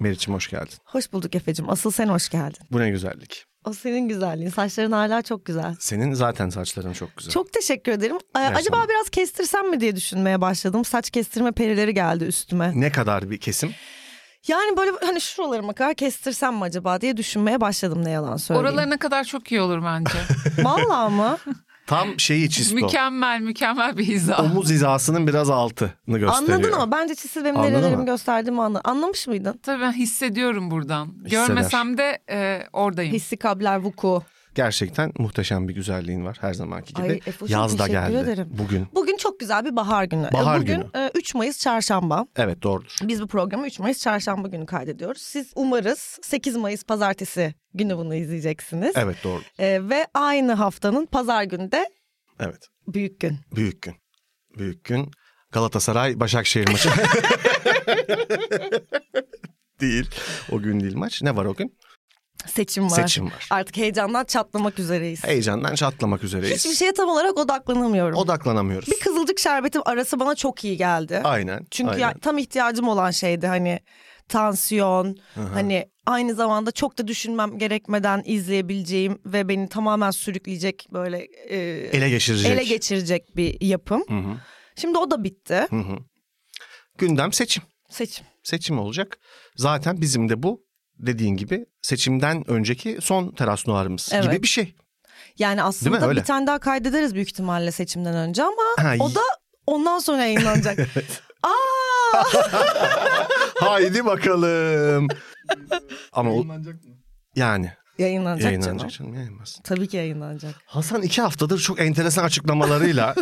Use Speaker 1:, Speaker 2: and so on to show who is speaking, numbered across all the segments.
Speaker 1: Efe'cim hoş geldin.
Speaker 2: Hoş bulduk Efe'cim. Asıl sen hoş geldin.
Speaker 1: Bu ne güzellik.
Speaker 2: O senin güzelliğin. Saçların hala çok güzel.
Speaker 1: Senin zaten saçların çok güzel.
Speaker 2: Çok teşekkür ederim. Ee,
Speaker 1: Ne
Speaker 2: acaba
Speaker 1: zaman?
Speaker 2: biraz kestirsem mi diye düşünmeye başladım. Saç kestirme perileri geldi üstüme.
Speaker 1: Ne kadar bir kesim?
Speaker 2: Yani böyle hani şuralarıma kadar kestirsem mi acaba diye düşünmeye başladım ne yalan söyleyeyim.
Speaker 3: Oralarına kadar çok iyi olur bence.
Speaker 2: Vallahi mı?
Speaker 1: Tam şeyi çisto.
Speaker 3: mükemmel mükemmel bir izah.
Speaker 1: Omuz hizasının biraz altını gösteriyor.
Speaker 2: Anladın ama bence çizil benim
Speaker 1: Anladın
Speaker 2: nerelerimi
Speaker 1: mı?
Speaker 2: gösterdiğimi anla. Anlamış mıydın?
Speaker 3: Tabii ben hissediyorum buradan.
Speaker 1: Hisseder.
Speaker 3: Görmesem de e, oradayım.
Speaker 2: Hissi kabler vuku.
Speaker 1: Gerçekten muhteşem bir güzelliğin var her zamanki gibi.
Speaker 2: Ay, Efe'cim,
Speaker 1: Yaz da
Speaker 2: teşekkür
Speaker 1: geldi
Speaker 2: ederim.
Speaker 1: bugün.
Speaker 2: Bugün çok güzel bir bahar günü. Ee,
Speaker 1: Bahar
Speaker 2: Bugün
Speaker 1: günü.
Speaker 2: e, 3 Mayıs çarşamba.
Speaker 1: Evet doğrudur.
Speaker 2: Biz bu programı 3 Mayıs çarşamba günü kaydediyoruz. Siz umarız 8 Mayıs pazartesi günü bunu izleyeceksiniz.
Speaker 1: Evet doğru.
Speaker 2: Ee, ve aynı haftanın pazar günü de
Speaker 1: Evet.
Speaker 2: büyük gün.
Speaker 1: Büyük gün. Büyük gün. Galatasaray Başakşehir maçı. değil. O gün değil maç. Ne var o gün?
Speaker 2: Seçim var.
Speaker 1: Seçim var.
Speaker 2: Artık heyecandan çatlamak üzereyiz.
Speaker 1: Heyecandan çatlamak üzereyiz.
Speaker 2: Hiçbir şeye tam olarak odaklanamıyorum.
Speaker 1: Odaklanamıyoruz.
Speaker 2: Bir kızılcık şerbetim arası bana çok iyi geldi.
Speaker 1: Aynen.
Speaker 2: Çünkü
Speaker 1: aynen.
Speaker 2: ya, tam ihtiyacım olan şeydi hani tansiyon, hani aynı zamanda çok da düşünmem gerekmeden izleyebileceğim ve beni tamamen sürükleyecek böyle e,
Speaker 1: ele geçirecek.
Speaker 2: ele geçirecek bir yapım. Şimdi o da bitti.
Speaker 1: Gündem seçim.
Speaker 2: Seçim.
Speaker 1: Seçim olacak. Zaten bizim de bu dediğin gibi seçimden önceki son teras nuarımız
Speaker 2: Evet.
Speaker 1: gibi bir şey.
Speaker 2: Yani aslında
Speaker 1: Öyle.
Speaker 2: bir tane daha kaydederiz büyük ihtimalle seçimden önce ama
Speaker 1: Ha,
Speaker 2: o
Speaker 1: y-
Speaker 2: da ondan sonra yayınlanacak. Aa!
Speaker 1: Haydi bakalım. Ama o- yani
Speaker 2: yayınlanacak,
Speaker 1: yayınlanacak
Speaker 2: canım.
Speaker 1: canım yayınlanmaz.
Speaker 2: Tabii ki yayınlanacak.
Speaker 1: Hasan iki haftadır çok enteresan açıklamalarıyla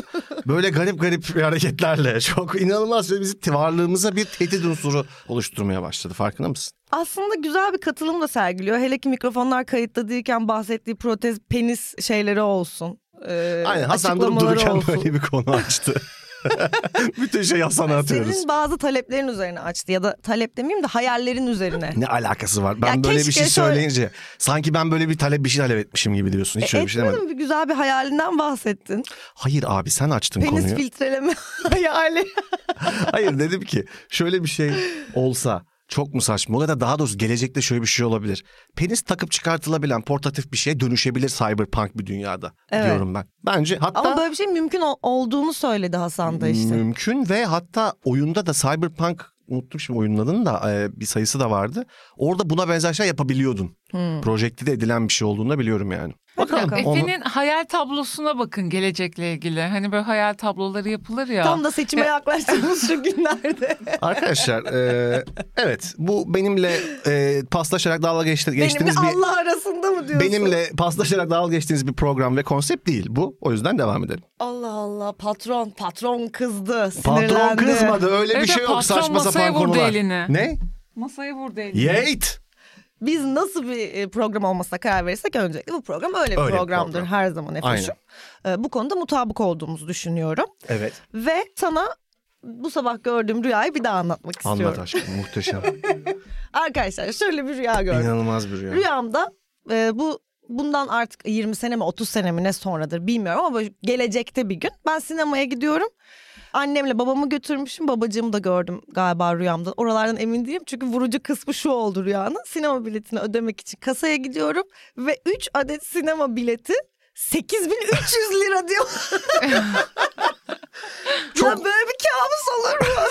Speaker 1: böyle garip garip hareketlerle çok inanılmaz ve bizi varlığımıza bir tehdit unsuru oluşturmaya başladı farkında mısın?
Speaker 2: Aslında güzel bir katılım da sergiliyor. Hele ki mikrofonlar kayıtta değilken bahsettiği protez penis şeyleri olsun. Ee,
Speaker 1: Aynen Hasan durup
Speaker 2: açıklamaları
Speaker 1: dururken
Speaker 2: olsun.
Speaker 1: böyle bir konu açtı. Bütün şey Hasan'a atıyoruz.
Speaker 2: Senin bazı taleplerin üzerine açtı ya da talep demeyeyim de hayallerin üzerine.
Speaker 1: Ne alakası var? Ben
Speaker 2: Ya
Speaker 1: böyle bir
Speaker 2: keşke
Speaker 1: şey
Speaker 2: şöyle-
Speaker 1: söyleyince sanki ben böyle bir talep bir şey talep etmişim gibi diyorsun. Hiç öyle bir şey
Speaker 2: E, Etmedin
Speaker 1: demedim.
Speaker 2: mi? Bir güzel bir hayalinden bahsettin.
Speaker 1: Hayır abi sen açtın
Speaker 2: Penis
Speaker 1: konuyu.
Speaker 2: filtreleme hayali.
Speaker 1: Hayır dedim ki şöyle bir şey olsa çok mu saçma olur ya da daha doğrusu gelecekte şöyle bir şey olabilir. Penis takıp çıkartılabilen portatif bir şeye dönüşebilir cyberpunk bir dünyada
Speaker 2: Evet.
Speaker 1: diyorum ben. Bence hatta
Speaker 2: Ama böyle bir şey mümkün ol- olduğunu söyledi Hasan da işte.
Speaker 1: mümkün ve hatta oyunda da cyberpunk unuttum şimdi oyunun adını da e, bir sayısı da vardı. Orada buna benzer şey yapabiliyordun.
Speaker 3: Hmm.
Speaker 1: Projekte de edilen bir şey olduğunu da biliyorum yani. Bakalım.
Speaker 2: bakalım.
Speaker 1: onu-
Speaker 3: Efe'nin hayal tablosuna bakın gelecekle ilgili. Hani böyle hayal tabloları yapılır ya.
Speaker 2: Tam da seçime yaklaştığımız şu günlerde.
Speaker 1: Arkadaşlar e, evet bu benimle e, paslaşarak dalga geçti,
Speaker 2: Benimle
Speaker 1: geçtiğiniz bir
Speaker 2: Allah arasında mı diyorsun?
Speaker 1: benimle paslaşarak dalga geçtiğiniz bir program ve konsept değil bu. O yüzden devam edelim.
Speaker 2: Allah Allah patron patron kızdı sinirlendi.
Speaker 1: Patron kızmadı öyle bir
Speaker 3: Evet,
Speaker 1: şey yok
Speaker 3: patron
Speaker 1: saçma
Speaker 3: masaya
Speaker 1: sapan
Speaker 3: vurdu
Speaker 1: konular.
Speaker 3: elini.
Speaker 1: Ne?
Speaker 3: Masayı burada elinde.
Speaker 1: Yeğit.
Speaker 2: Biz nasıl bir e, program olmasına karar verirsek öncelikle bu program öyle bir
Speaker 1: Öyle bir
Speaker 2: programdır
Speaker 1: program.
Speaker 2: her zaman Efe'cim. E, bu konuda mutabık olduğumuzu düşünüyorum.
Speaker 1: Evet.
Speaker 2: Ve sana bu sabah gördüğüm rüyayı bir daha anlatmak istiyorum.
Speaker 1: Anlat aşkım muhteşem.
Speaker 2: Arkadaşlar şöyle bir rüya gördüm.
Speaker 1: İnanılmaz bir rüya.
Speaker 2: Rüyamda e, bu bundan artık 20 sene mi 30 sene mi ne sonradır bilmiyorum ama böyle gelecekte bir gün ben sinemaya gidiyorum. Annemle babamı götürmüşüm. Babacığımı da gördüm galiba rüyamda. Oralardan emin değilim. Çünkü vurucu kısmı şu oldu rüyanın. Sinema biletini ödemek için kasaya gidiyorum. Ve 3 adet sinema bileti 8300 lira diyor. Ya böyle bir kabus olur mu?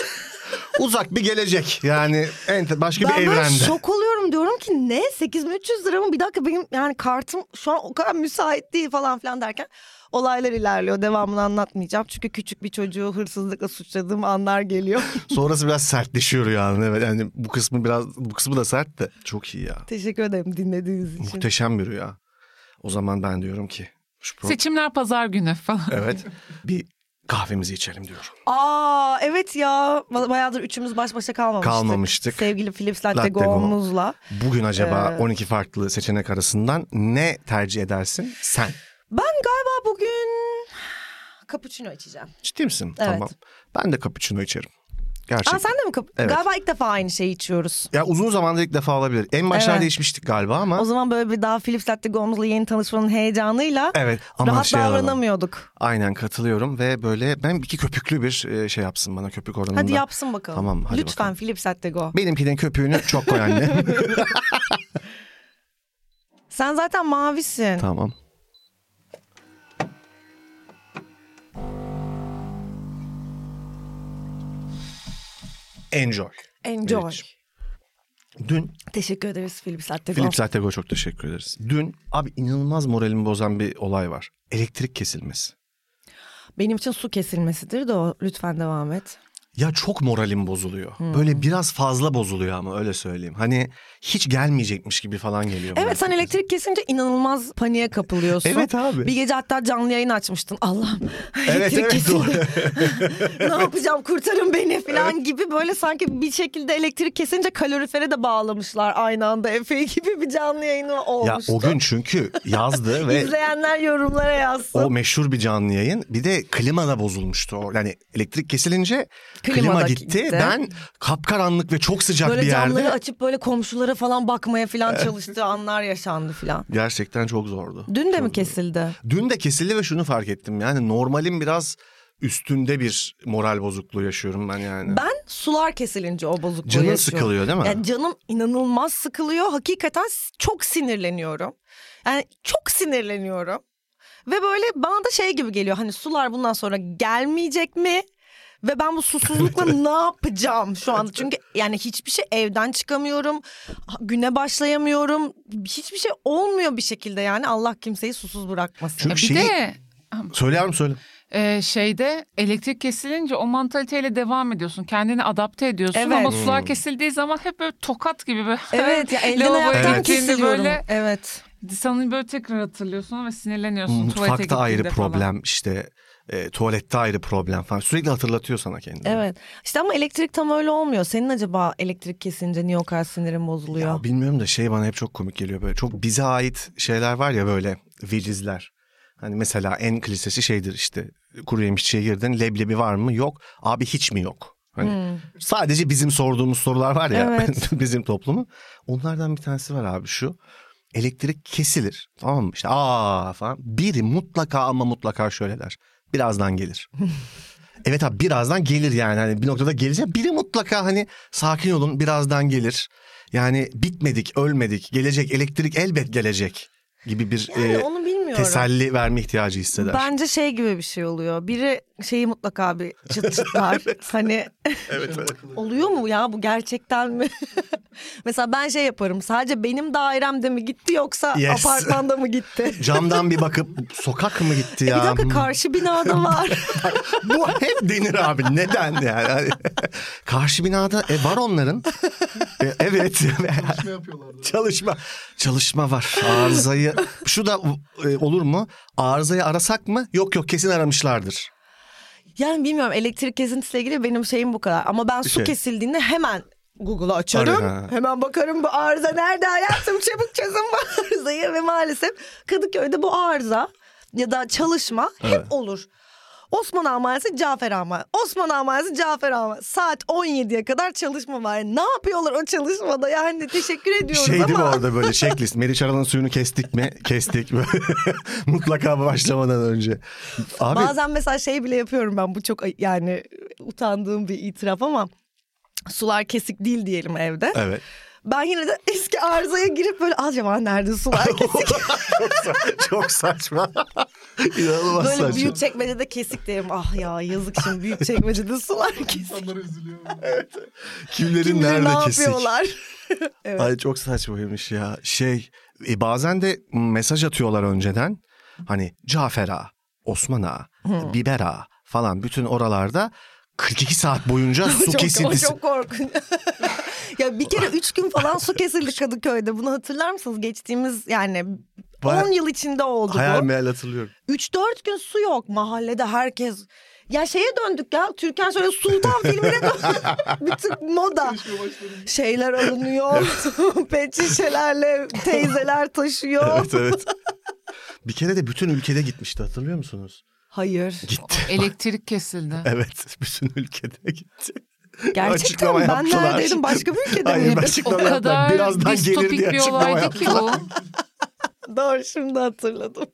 Speaker 1: Uzak bir gelecek yani ente- başka
Speaker 2: Ben
Speaker 1: bir
Speaker 2: böyle
Speaker 1: evrende.
Speaker 2: şok oluyorum diyorum ki ne 8300 lira mı bir dakika benim yani kartım şu an o kadar müsait değil falan filan derken olaylar ilerliyor devamını anlatmayacağım çünkü küçük bir çocuğu hırsızlıkla suçladığım anlar geliyor.
Speaker 1: Sonrası biraz sertleşiyor yani. Evet yani bu kısmı biraz bu kısmı da sert de çok iyi ya.
Speaker 2: Teşekkür ederim dinlediğiniz için.
Speaker 1: Muhteşem bir rüya. O zaman ben diyorum ki şu pro-
Speaker 3: Seçimler pazar günü falan.
Speaker 1: evet bir kahvemizi içelim diyorum.
Speaker 2: Aa evet ya Ba- bayağıdır üçümüz baş başa kalmamıştık.
Speaker 1: Kalmamıştık.
Speaker 2: Sevgili Philips
Speaker 1: Latte
Speaker 2: Latte
Speaker 1: Go.
Speaker 2: Go'muzla.
Speaker 1: Bugün acaba
Speaker 2: Ee,
Speaker 1: 12 farklı seçenek arasından ne tercih edersin sen?
Speaker 2: Ben galiba bugün cappuccino içeceğim.
Speaker 1: Ciddi misin?
Speaker 2: Evet.
Speaker 1: Tamam. Ben de cappuccino içerim. Gerçekten.
Speaker 2: Aa, sen de mi kap-
Speaker 1: şey Evet.
Speaker 2: Galiba ilk defa aynı şeyi içiyoruz.
Speaker 1: Ya uzun zamandır ilk defa olabilir. En başlarda
Speaker 2: Evet.
Speaker 1: içmiştik galiba ama.
Speaker 2: O zaman böyle bir daha Philips Latte Gomez'la yeni tanışmanın heyecanıyla
Speaker 1: Evet ama
Speaker 2: rahat
Speaker 1: şey alalım.
Speaker 2: davranamıyorduk.
Speaker 1: Aynen katılıyorum ve böyle ben iki köpüklü bir e, şey yapsın bana köpük oranında.
Speaker 2: Hadi yapsın bakalım.
Speaker 1: Tamam, hadi
Speaker 2: Lütfen
Speaker 1: bakalım.
Speaker 2: Philips Latte Go.
Speaker 1: Benimkinin köpüğünü çok koy anne.
Speaker 2: Sen zaten mavisin.
Speaker 1: tamam. Enjoy.
Speaker 2: Enjoy.
Speaker 1: Evet. Dün
Speaker 2: Teşekkür ederiz Philips Latte Go.
Speaker 1: Philips Atego çok teşekkür ederiz. Dün abi inanılmaz moralimi bozan bir olay var. Elektrik kesilmesi.
Speaker 2: Benim için su kesilmesidir de o. Lütfen devam et.
Speaker 1: Ya çok moralim bozuluyor.
Speaker 2: Hmm.
Speaker 1: Böyle biraz fazla bozuluyor ama öyle söyleyeyim. Hani hiç gelmeyecekmiş gibi falan geliyor. bana.
Speaker 2: Evet sen elektrik kesince inanılmaz paniğe kapılıyorsun.
Speaker 1: Evet abi.
Speaker 2: Bir gece hatta canlı yayın açmıştın. Allah'ım
Speaker 1: Evet
Speaker 2: elektrik
Speaker 1: evet
Speaker 2: kesildi.
Speaker 1: doğru.
Speaker 2: ne yapacağım kurtarın beni falan gibi böyle sanki bir şekilde elektrik kesince kalorifere de bağlamışlar aynı anda Efe gibi bir canlı yayını
Speaker 1: ya
Speaker 2: olmuştu.
Speaker 1: o gün çünkü yazdı ve
Speaker 2: İzleyenler yorumlara yazsın.
Speaker 1: o meşhur bir canlı yayın. Bir de klima da bozulmuştu. o. Yani elektrik kesilince klima,
Speaker 2: Klima da
Speaker 1: gitti.
Speaker 2: gitti.
Speaker 1: Ben kapkaranlık ve çok sıcak
Speaker 2: böyle
Speaker 1: bir yerde.
Speaker 2: camları açıp böyle komşulara falan bakmaya falan çalıştığı anlar yaşandı falan.
Speaker 1: Gerçekten çok zordu.
Speaker 2: Dün de mi kesildi?
Speaker 1: Dün de kesildi ve şunu fark ettim. Yani normalin biraz üstünde bir moral bozukluğu yaşıyorum ben yani.
Speaker 2: Ben sular kesilince o bozukluğu
Speaker 1: Canın
Speaker 2: yaşıyorum.
Speaker 1: sıkılıyor değil mi?
Speaker 2: Yani canım inanılmaz sıkılıyor. Hakikaten s- çok sinirleniyorum. Yani çok sinirleniyorum. Ve böyle bana da şey gibi geliyor. Hani sular bundan sonra gelmeyecek mi? Ve ben bu susuzlukla ne yapacağım şu anda? Çünkü yani hiçbir şey evden çıkamıyorum. Ha- Güne başlayamıyorum. Hiçbir şey olmuyor bir şekilde yani. Allah kimseyi susuz bırakmasın.
Speaker 1: Çünkü
Speaker 3: Bir
Speaker 1: şeyi...
Speaker 3: de
Speaker 1: Söyle yavrum söyle.
Speaker 3: e, şeyde elektrik kesilince o mantaliteyle devam ediyorsun. Kendini adapte ediyorsun
Speaker 2: Evet.
Speaker 3: ama sular kesildiği zaman hep böyle tokat gibi böyle.
Speaker 2: Evet ya elden
Speaker 3: Lavaboya
Speaker 2: ayaktan
Speaker 1: Evet.
Speaker 3: gittiğinde
Speaker 2: kesiliyorum.
Speaker 3: böyle-
Speaker 2: Evet.
Speaker 3: Sana böyle tekrar hatırlıyorsun ve sinirleniyorsun tuvalete
Speaker 1: Mutfakta
Speaker 3: gittiğinde
Speaker 1: ayrı
Speaker 3: falan.
Speaker 1: problem işte e, tuvalette ayrı problem falan. Sürekli hatırlatıyor sana kendini.
Speaker 2: Evet. İşte ama elektrik tam öyle olmuyor. Senin acaba elektrik kesince niye o kadar sinirin bozuluyor?
Speaker 1: Ya bilmiyorum da şey bana hep çok komik geliyor böyle. Çok bize ait şeyler var ya böyle vicizler. Hani mesela en klişesi şeydir işte kuru yemişçiye girdin leblebi var mı yok abi hiç mi yok? Hani sadece bizim sorduğumuz sorular var ya
Speaker 2: Hmm. Evet.
Speaker 1: bizim toplumu. Onlardan bir tanesi var abi şu. Elektrik kesilir tamam mı? İşte aa falan. Biri mutlaka ama mutlaka şöyle der. Birazdan gelir. Evet abi birazdan gelir yani hani bir noktada gelecek. Biri mutlaka hani sakin olun birazdan gelir. Yani bitmedik, ölmedik, gelecek, elektrik elbet gelecek gibi bir
Speaker 2: yani
Speaker 1: e,
Speaker 2: onu bilmiyorum.
Speaker 1: teselli verme ihtiyacı hisseder.
Speaker 2: Bence şey gibi bir şey oluyor. Biri şeyi mutlaka bir çıt çıtlar. Hani
Speaker 1: Evet, evet.
Speaker 2: oluyor mu ya bu gerçekten mi? Mesela ben şey yaparım. Sadece benim dairemde mi gitti yoksa
Speaker 1: Yes.
Speaker 2: apartmanda mı gitti?
Speaker 1: Camdan bir bakıp sokak mı gitti
Speaker 2: E, Bir
Speaker 1: ya?
Speaker 2: dakika karşı binada var.
Speaker 1: Bu hep denir abi. Neden yani? Hani Karşı binada e, var onların. E, evet. Çalışma yapıyorlar. Çalışma. Çalışma var. Arızayı. Şu da e, olur mu? Arızayı arasak mı? Yok yok kesin aramışlardır.
Speaker 2: Yani bilmiyorum elektrik kesintisiyle ilgili benim şeyim bu kadar. Ama ben su
Speaker 1: Şey.
Speaker 2: kesildiğinde hemen Google'a açarım.
Speaker 1: Tabii, ha.
Speaker 2: Hemen bakarım bu arıza nerede hayatım çabuk çözün bu arızayı. Ve maalesef Kadıköy'de bu arıza ya da çalışma
Speaker 1: Evet.
Speaker 2: hep olur. Osman Amalesi, Cafer Amal. Osman Amalesi, Cafer Amal. Saat 17'ye kadar çalışma var. Ne yapıyorlar o çalışmada? Yani teşekkür ediyoruz
Speaker 1: Şey değil mi
Speaker 2: ama.
Speaker 1: orada böyle checklist. Meriç Aral'ın suyunu kestik mi? Kestik. Mutlaka başlamadan önce. Abi
Speaker 2: Bazen mesela şey bile yapıyorum ben bu çok ay- yani utandığım bir itiraf ama sular kesik değil diyelim evde.
Speaker 1: evet.
Speaker 2: Ben yine de eski arızaya girip böyle acaba nerede sular kesik?
Speaker 1: çok, sa- çok saçma. İnanılmaz
Speaker 2: böyle
Speaker 1: saçma.
Speaker 2: büyük çekmecede kesik derim. Ah ya yazık şimdi büyük çekmecede sular kesik.
Speaker 1: Kimlerin
Speaker 2: Kim bilir
Speaker 1: nerede
Speaker 2: ne
Speaker 1: kesik?
Speaker 2: yapıyorlar?
Speaker 1: Ay çok saçmaymış ya. Şey e, bazen de mesaj atıyorlar önceden. Hani Cafer Ağa, Osman Ağa,
Speaker 2: Hmm.
Speaker 1: Biber Ağa falan bütün oralarda 42 saat boyunca su
Speaker 2: çok, o
Speaker 1: kesintisi.
Speaker 2: çok korkunç. ya bir kere üç gün falan su kesildi Kadıköy'de. Bunu hatırlar mısınız? Geçtiğimiz yani
Speaker 1: Baya-
Speaker 2: 10 yıl içinde oldu
Speaker 1: Hayal
Speaker 2: bu.
Speaker 1: meyal hatırlıyorum.
Speaker 2: 3-4 gün su yok mahallede herkes. Ya şeye döndük ya. Türkan şöyle Sultan filmine döndük. Bir tık moda. Şeyler alınıyor. Pet şişelerle teyzeler taşıyor.
Speaker 1: Evet evet. Bir kere de bütün ülkede gitmişti hatırlıyor musunuz?
Speaker 2: Hayır.
Speaker 1: Gitti.
Speaker 3: Elektrik kesildi.
Speaker 1: Evet bütün ülkede gitti.
Speaker 2: Gerçekten
Speaker 1: Açıklama
Speaker 2: ben
Speaker 1: yaptılar.
Speaker 2: neredeydim başka bir ülkede
Speaker 1: Hayır
Speaker 2: miydim?
Speaker 1: açıklama
Speaker 3: O kadar
Speaker 1: yaptılar. Birazdan gelir
Speaker 3: distopik
Speaker 1: diye
Speaker 3: bir
Speaker 1: açıklama
Speaker 3: olaydı ki
Speaker 1: yaptılar.
Speaker 3: o.
Speaker 2: Doğru şimdi hatırladım.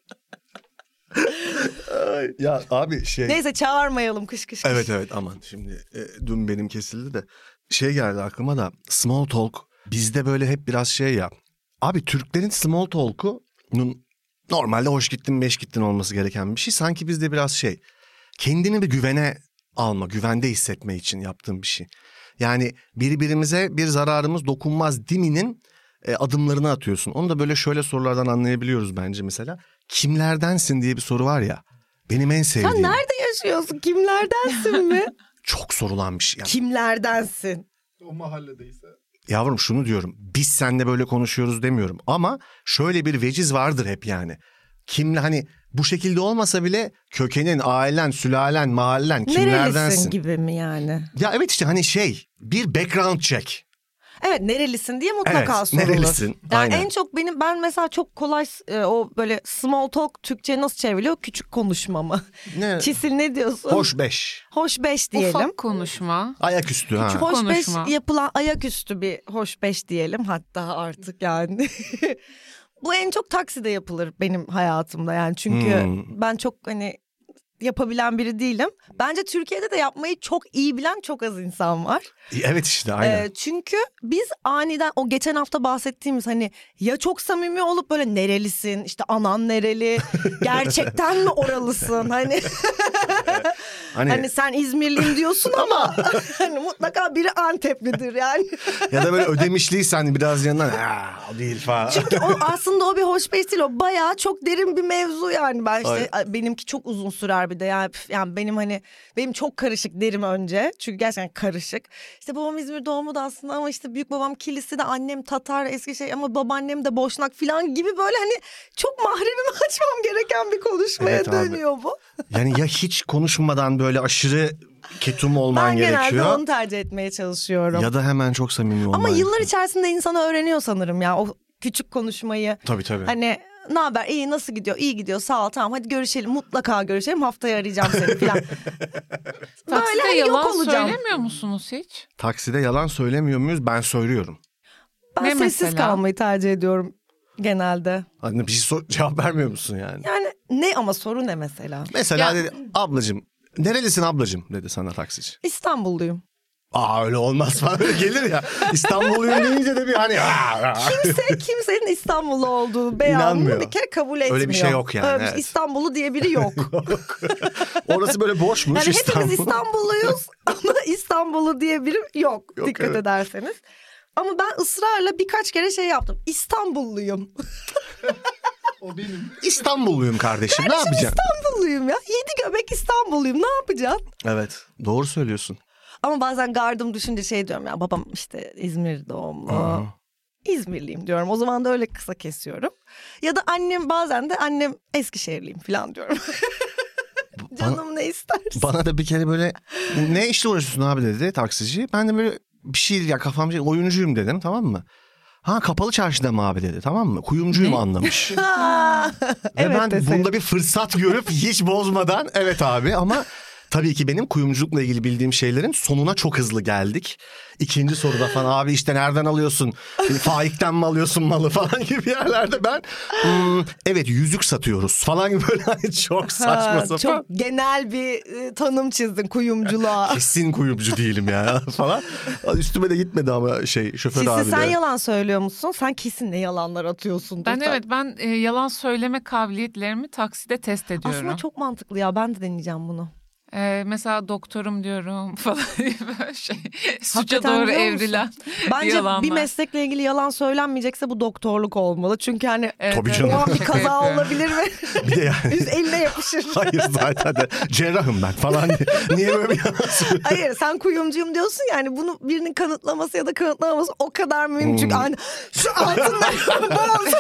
Speaker 1: Ay, ya abi şey.
Speaker 2: Neyse çağırmayalım kış kış kış.
Speaker 1: Evet evet aman şimdi e, dün benim kesildi de şey geldi aklıma da small talk bizde böyle hep biraz şey ya. Abi Türklerin small talk'unun normalde hoş gittin beş gittin olması gereken bir şey. Sanki bizde biraz şey kendini bir güvene alma güvende hissetme için yaptığım bir şey. Yani birbirimize bir zararımız dokunmaz diminin e, adımlarını atıyorsun. Onu da böyle şöyle sorulardan anlayabiliyoruz bence mesela. Kimlerdensin diye bir soru var ya. Benim en sevdiğim.
Speaker 2: Sen nerede yaşıyorsun? Kimlerdensin mi?
Speaker 1: Çok sorulan bir şey. Yani
Speaker 2: Kimlerdensin?
Speaker 4: O mahalledeyse.
Speaker 1: yavrum şunu diyorum. Biz seninle böyle konuşuyoruz demiyorum. Ama şöyle bir veciz vardır hep yani. Kimle hani bu şekilde olmasa bile kökenin, ailen, sülalen, mahallen
Speaker 2: Nerelisin
Speaker 1: kimlerdensin?
Speaker 2: gibi mi yani?
Speaker 1: Ya evet işte hani şey bir background check.
Speaker 2: Evet nerelisin diye mutlaka
Speaker 1: Evet,
Speaker 2: sorulur.
Speaker 1: nerelisin?
Speaker 2: Yani
Speaker 1: Aynen.
Speaker 2: en çok benim ben mesela çok kolay e, o böyle small talk Türkçe nasıl çevriliyor? Küçük konuşma mı?
Speaker 1: Ne?
Speaker 2: Çisil ne diyorsun?
Speaker 1: Hoş beş.
Speaker 2: Hoş beş diyelim.
Speaker 3: Ufak konuşma.
Speaker 1: Ayaküstü
Speaker 3: Küçük
Speaker 1: ha.
Speaker 2: Hoş
Speaker 3: konuşma.
Speaker 2: beş yapılan ayaküstü bir hoş beş diyelim hatta artık yani. Bu en çok takside yapılır benim hayatımda yani çünkü
Speaker 1: Hmm.
Speaker 2: ben çok hani yapabilen biri değilim. Bence Türkiye'de de yapmayı çok iyi bilen çok az insan var.
Speaker 1: Evet işte
Speaker 2: Ee,
Speaker 1: aynen.
Speaker 2: çünkü biz aniden o geçen hafta bahsettiğimiz hani ya çok samimi olup böyle nerelisin işte anan nereli gerçekten mi oralısın hani
Speaker 1: hani,
Speaker 2: hani sen İzmirliyim diyorsun ama hani mutlaka biri Anteplidir yani.
Speaker 1: ya da böyle ödemişliysen biraz yanından ha değil falan.
Speaker 2: Çünkü o aslında o bir hoş beş değil o bayağı çok derin bir mevzu yani ben işte benimki çok uzun sürer bir de yani, püf, yani benim hani benim çok karışık derim önce çünkü gerçekten karışık. İşte babam İzmir doğumlu da aslında ama işte büyük babam kilisli de annem Tatar eski şey ama babaannem de Boşnak falan gibi böyle hani çok mahremimi açmam gereken bir konuşmaya
Speaker 1: Evet abi.
Speaker 2: dönüyor bu.
Speaker 1: Yani ya hiç konuşmadan böyle aşırı ketum olman
Speaker 2: Ben genelde
Speaker 1: gerekiyor.
Speaker 2: onu tercih etmeye çalışıyorum.
Speaker 1: Ya da hemen çok samimi olman.
Speaker 2: ama yıllar
Speaker 1: gerekiyor.
Speaker 2: içerisinde insan öğreniyor sanırım ya o küçük konuşmayı.
Speaker 1: Tabii tabii.
Speaker 2: Hani ne haber iyi nasıl gidiyor iyi gidiyor sağ ol tamam hadi görüşelim mutlaka görüşelim haftaya arayacağım seni falan.
Speaker 3: Takside
Speaker 2: hani yok
Speaker 3: yalan
Speaker 2: olacağım.
Speaker 3: söylemiyor musunuz hiç?
Speaker 1: Takside yalan söylemiyor muyuz? Ben söylüyorum.
Speaker 2: Ben
Speaker 3: Ne
Speaker 2: sessiz
Speaker 3: mesela?
Speaker 2: kalmayı tercih ediyorum genelde.
Speaker 1: Hani bir şey sor- cevap vermiyor musun yani?
Speaker 2: Yani ne ama soru ne mesela?
Speaker 1: Mesela
Speaker 3: Ya-
Speaker 1: dedi ablacığım nerelisin ablacığım dedi sana taksici.
Speaker 2: İstanbulluyum.
Speaker 1: Aa öyle olmaz falan öyle gelir ya. İstanbulluyum deyince de bir hani "Aa, aa."
Speaker 2: Kimse kimsenin İstanbullu olduğu beyanını
Speaker 1: İnanmıyor.
Speaker 2: bir kere kabul etmiyor.
Speaker 1: Öyle bir şey yok yani,
Speaker 2: Öyle bir-
Speaker 1: evet.
Speaker 2: İstanbullu diye biri yok.
Speaker 1: Orası böyle boşmuş
Speaker 2: Yani
Speaker 1: İstanbul.
Speaker 2: hepimiz İstanbulluyuz ama İstanbullu diye biri yok,
Speaker 1: Yok,
Speaker 2: dikkat
Speaker 1: evet.
Speaker 2: ederseniz. Ama ben ısrarla birkaç kere şey yaptım. İstanbulluyum.
Speaker 4: O benim.
Speaker 1: İstanbulluyum kardeşim ne yapacaksın?
Speaker 2: İstanbulluyum ya. Yedi göbek İstanbulluyum. Ne yapacaksın?
Speaker 1: Evet doğru söylüyorsun.
Speaker 2: Ama bazen gardım düşünce şey diyorum ya babam işte İzmir doğumlu.
Speaker 1: Aa.
Speaker 2: İzmirliyim diyorum. O zaman da öyle kısa kesiyorum. Ya da annem bazen de annem Eskişehirliyim falan diyorum. Canım ne istersin?
Speaker 1: Bana da bir kere böyle ne işle uğraşıyorsun abi dedi taksici. Ben de böyle bir şey ya kafamca oyuncuyum dedim tamam mı? Ha kapalı çarşıda mı abi dedi tamam mı? Kuyumcuyum anlamış.
Speaker 2: Aa,
Speaker 1: Ve
Speaker 2: evet
Speaker 1: ben
Speaker 2: deseydim.
Speaker 1: bunda bir fırsat görüp hiç bozmadan evet abi ama tabii ki benim kuyumculukla ilgili bildiğim şeylerin sonuna çok hızlı geldik. İkinci soruda falan abi işte nereden alıyorsun? E, Faik'ten mi alıyorsun malı falan gibi yerlerde ben "Hmm, evet yüzük satıyoruz falan gibi böyle hani çok saçma
Speaker 2: Ha,
Speaker 1: sapan.
Speaker 2: çok genel bir e, tanım çizdin kuyumculuğa.
Speaker 1: Kesin kuyumcu değilim ya falan. Üstüme de gitmedi ama şey şoför
Speaker 2: Sisi
Speaker 1: abi de.
Speaker 2: sen yalan söylüyor musun? Sen kesin ne yalanlar atıyorsun.
Speaker 3: Ben evet ben e, yalan söyleme kabiliyetlerimi takside test ediyorum.
Speaker 2: Aslında çok mantıklı ya. Ben de deneyeceğim bunu.
Speaker 3: E, mesela doktorum diyorum falan diye böyle şey. Suça
Speaker 2: Hakikaten
Speaker 3: doğru
Speaker 2: biliyor musun?
Speaker 3: evrilen
Speaker 2: Bence
Speaker 3: yalanlar.
Speaker 2: bir meslekle ilgili yalan söylenmeyecekse bu doktorluk olmalı. Çünkü hani
Speaker 3: Evet,
Speaker 1: Tabii
Speaker 3: evet,
Speaker 1: canım.
Speaker 2: o an bir
Speaker 3: şaka
Speaker 2: kaza
Speaker 3: yapıyorum.
Speaker 2: olabilir ve
Speaker 1: Bir de yani
Speaker 2: üst eline yapışır.
Speaker 1: hayır zaten de cerrahım ben falan diye. Niye böyle bir yalan söylüyorsun?
Speaker 2: Hayır sen kuyumcuyum diyorsun yani bunu birinin kanıtlaması ya da kanıtlamaması o kadar mühim.
Speaker 1: Hmm.
Speaker 2: Çünkü hani şu altınlar boz.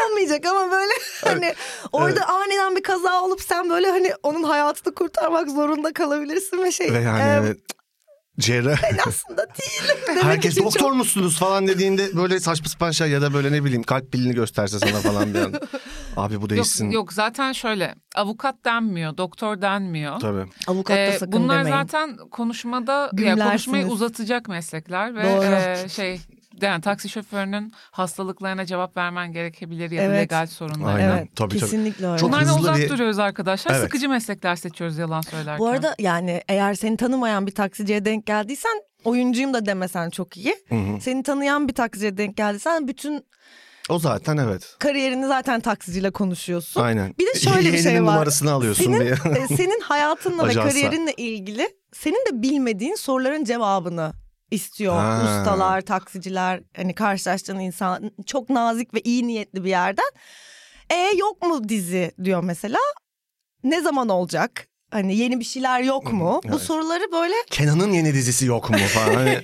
Speaker 2: olmayacak ama böyle hani orada aniden bir kaza olup sen böyle hani onun hayatını kurtarmak zorunda kalabilirsin ve şey
Speaker 1: Ve yani
Speaker 2: e,
Speaker 1: evet. cerrah
Speaker 2: Aslında değil. Demek
Speaker 1: herkes
Speaker 2: için
Speaker 1: doktor musunuz falan dediğinde böyle saçma sapan şey ya da böyle ne bileyim kalp pilini gösterse sana falan bir an. Abi bu değişsin.
Speaker 3: Yok, yok zaten şöyle avukat denmiyor, doktor denmiyor.
Speaker 1: Tabii.
Speaker 2: çok- Avukat da
Speaker 3: Ee,
Speaker 2: sakın
Speaker 3: bunlar
Speaker 2: demeyin.
Speaker 3: zaten konuşmada ya,
Speaker 2: Gümlersiniz.
Speaker 3: konuşmayı uzatacak meslekler ve
Speaker 2: Doğru.
Speaker 3: e, şey yani taksi şoförünün hastalıklarına cevap vermen gerekebilir ya da
Speaker 2: Evet.
Speaker 3: legal sorunlara.
Speaker 1: Aynen.
Speaker 2: Evet
Speaker 1: Tabii, tabii.
Speaker 2: kesinlikle öyle.
Speaker 1: Çok
Speaker 3: Bunlardan
Speaker 1: hızlı
Speaker 3: uzak
Speaker 1: bir-
Speaker 3: duruyoruz arkadaşlar.
Speaker 1: Evet.
Speaker 3: Sıkıcı meslekler seçiyoruz yalan söylerken.
Speaker 2: Bu arada yani eğer seni tanımayan bir taksiciye denk geldiysen oyuncuyum da demesen çok iyi.
Speaker 1: Hı hı.
Speaker 2: Seni tanıyan bir taksiciye denk geldiysen bütün
Speaker 1: O zaten evet.
Speaker 2: kariyerini zaten taksiciyle konuşuyorsun.
Speaker 1: Aynen.
Speaker 2: Bir de şöyle bir şey
Speaker 1: Yeğenin
Speaker 2: var.
Speaker 1: numarasını alıyorsun
Speaker 2: Senin-
Speaker 1: diye.
Speaker 2: E, senin hayatınla ve
Speaker 1: Ajansa.
Speaker 2: kariyerinle ilgili senin de bilmediğin soruların cevabını istiyor
Speaker 1: Ha.
Speaker 2: ustalar, taksiciler, hani karşılaştığın insan çok nazik ve iyi niyetli bir yerden. E yok mu dizi diyor mesela. Ne zaman olacak? Hani yeni bir şeyler yok mu? Bu
Speaker 1: Evet.
Speaker 2: soruları böyle
Speaker 1: Kenan'ın yeni dizisi yok mu falan. Hani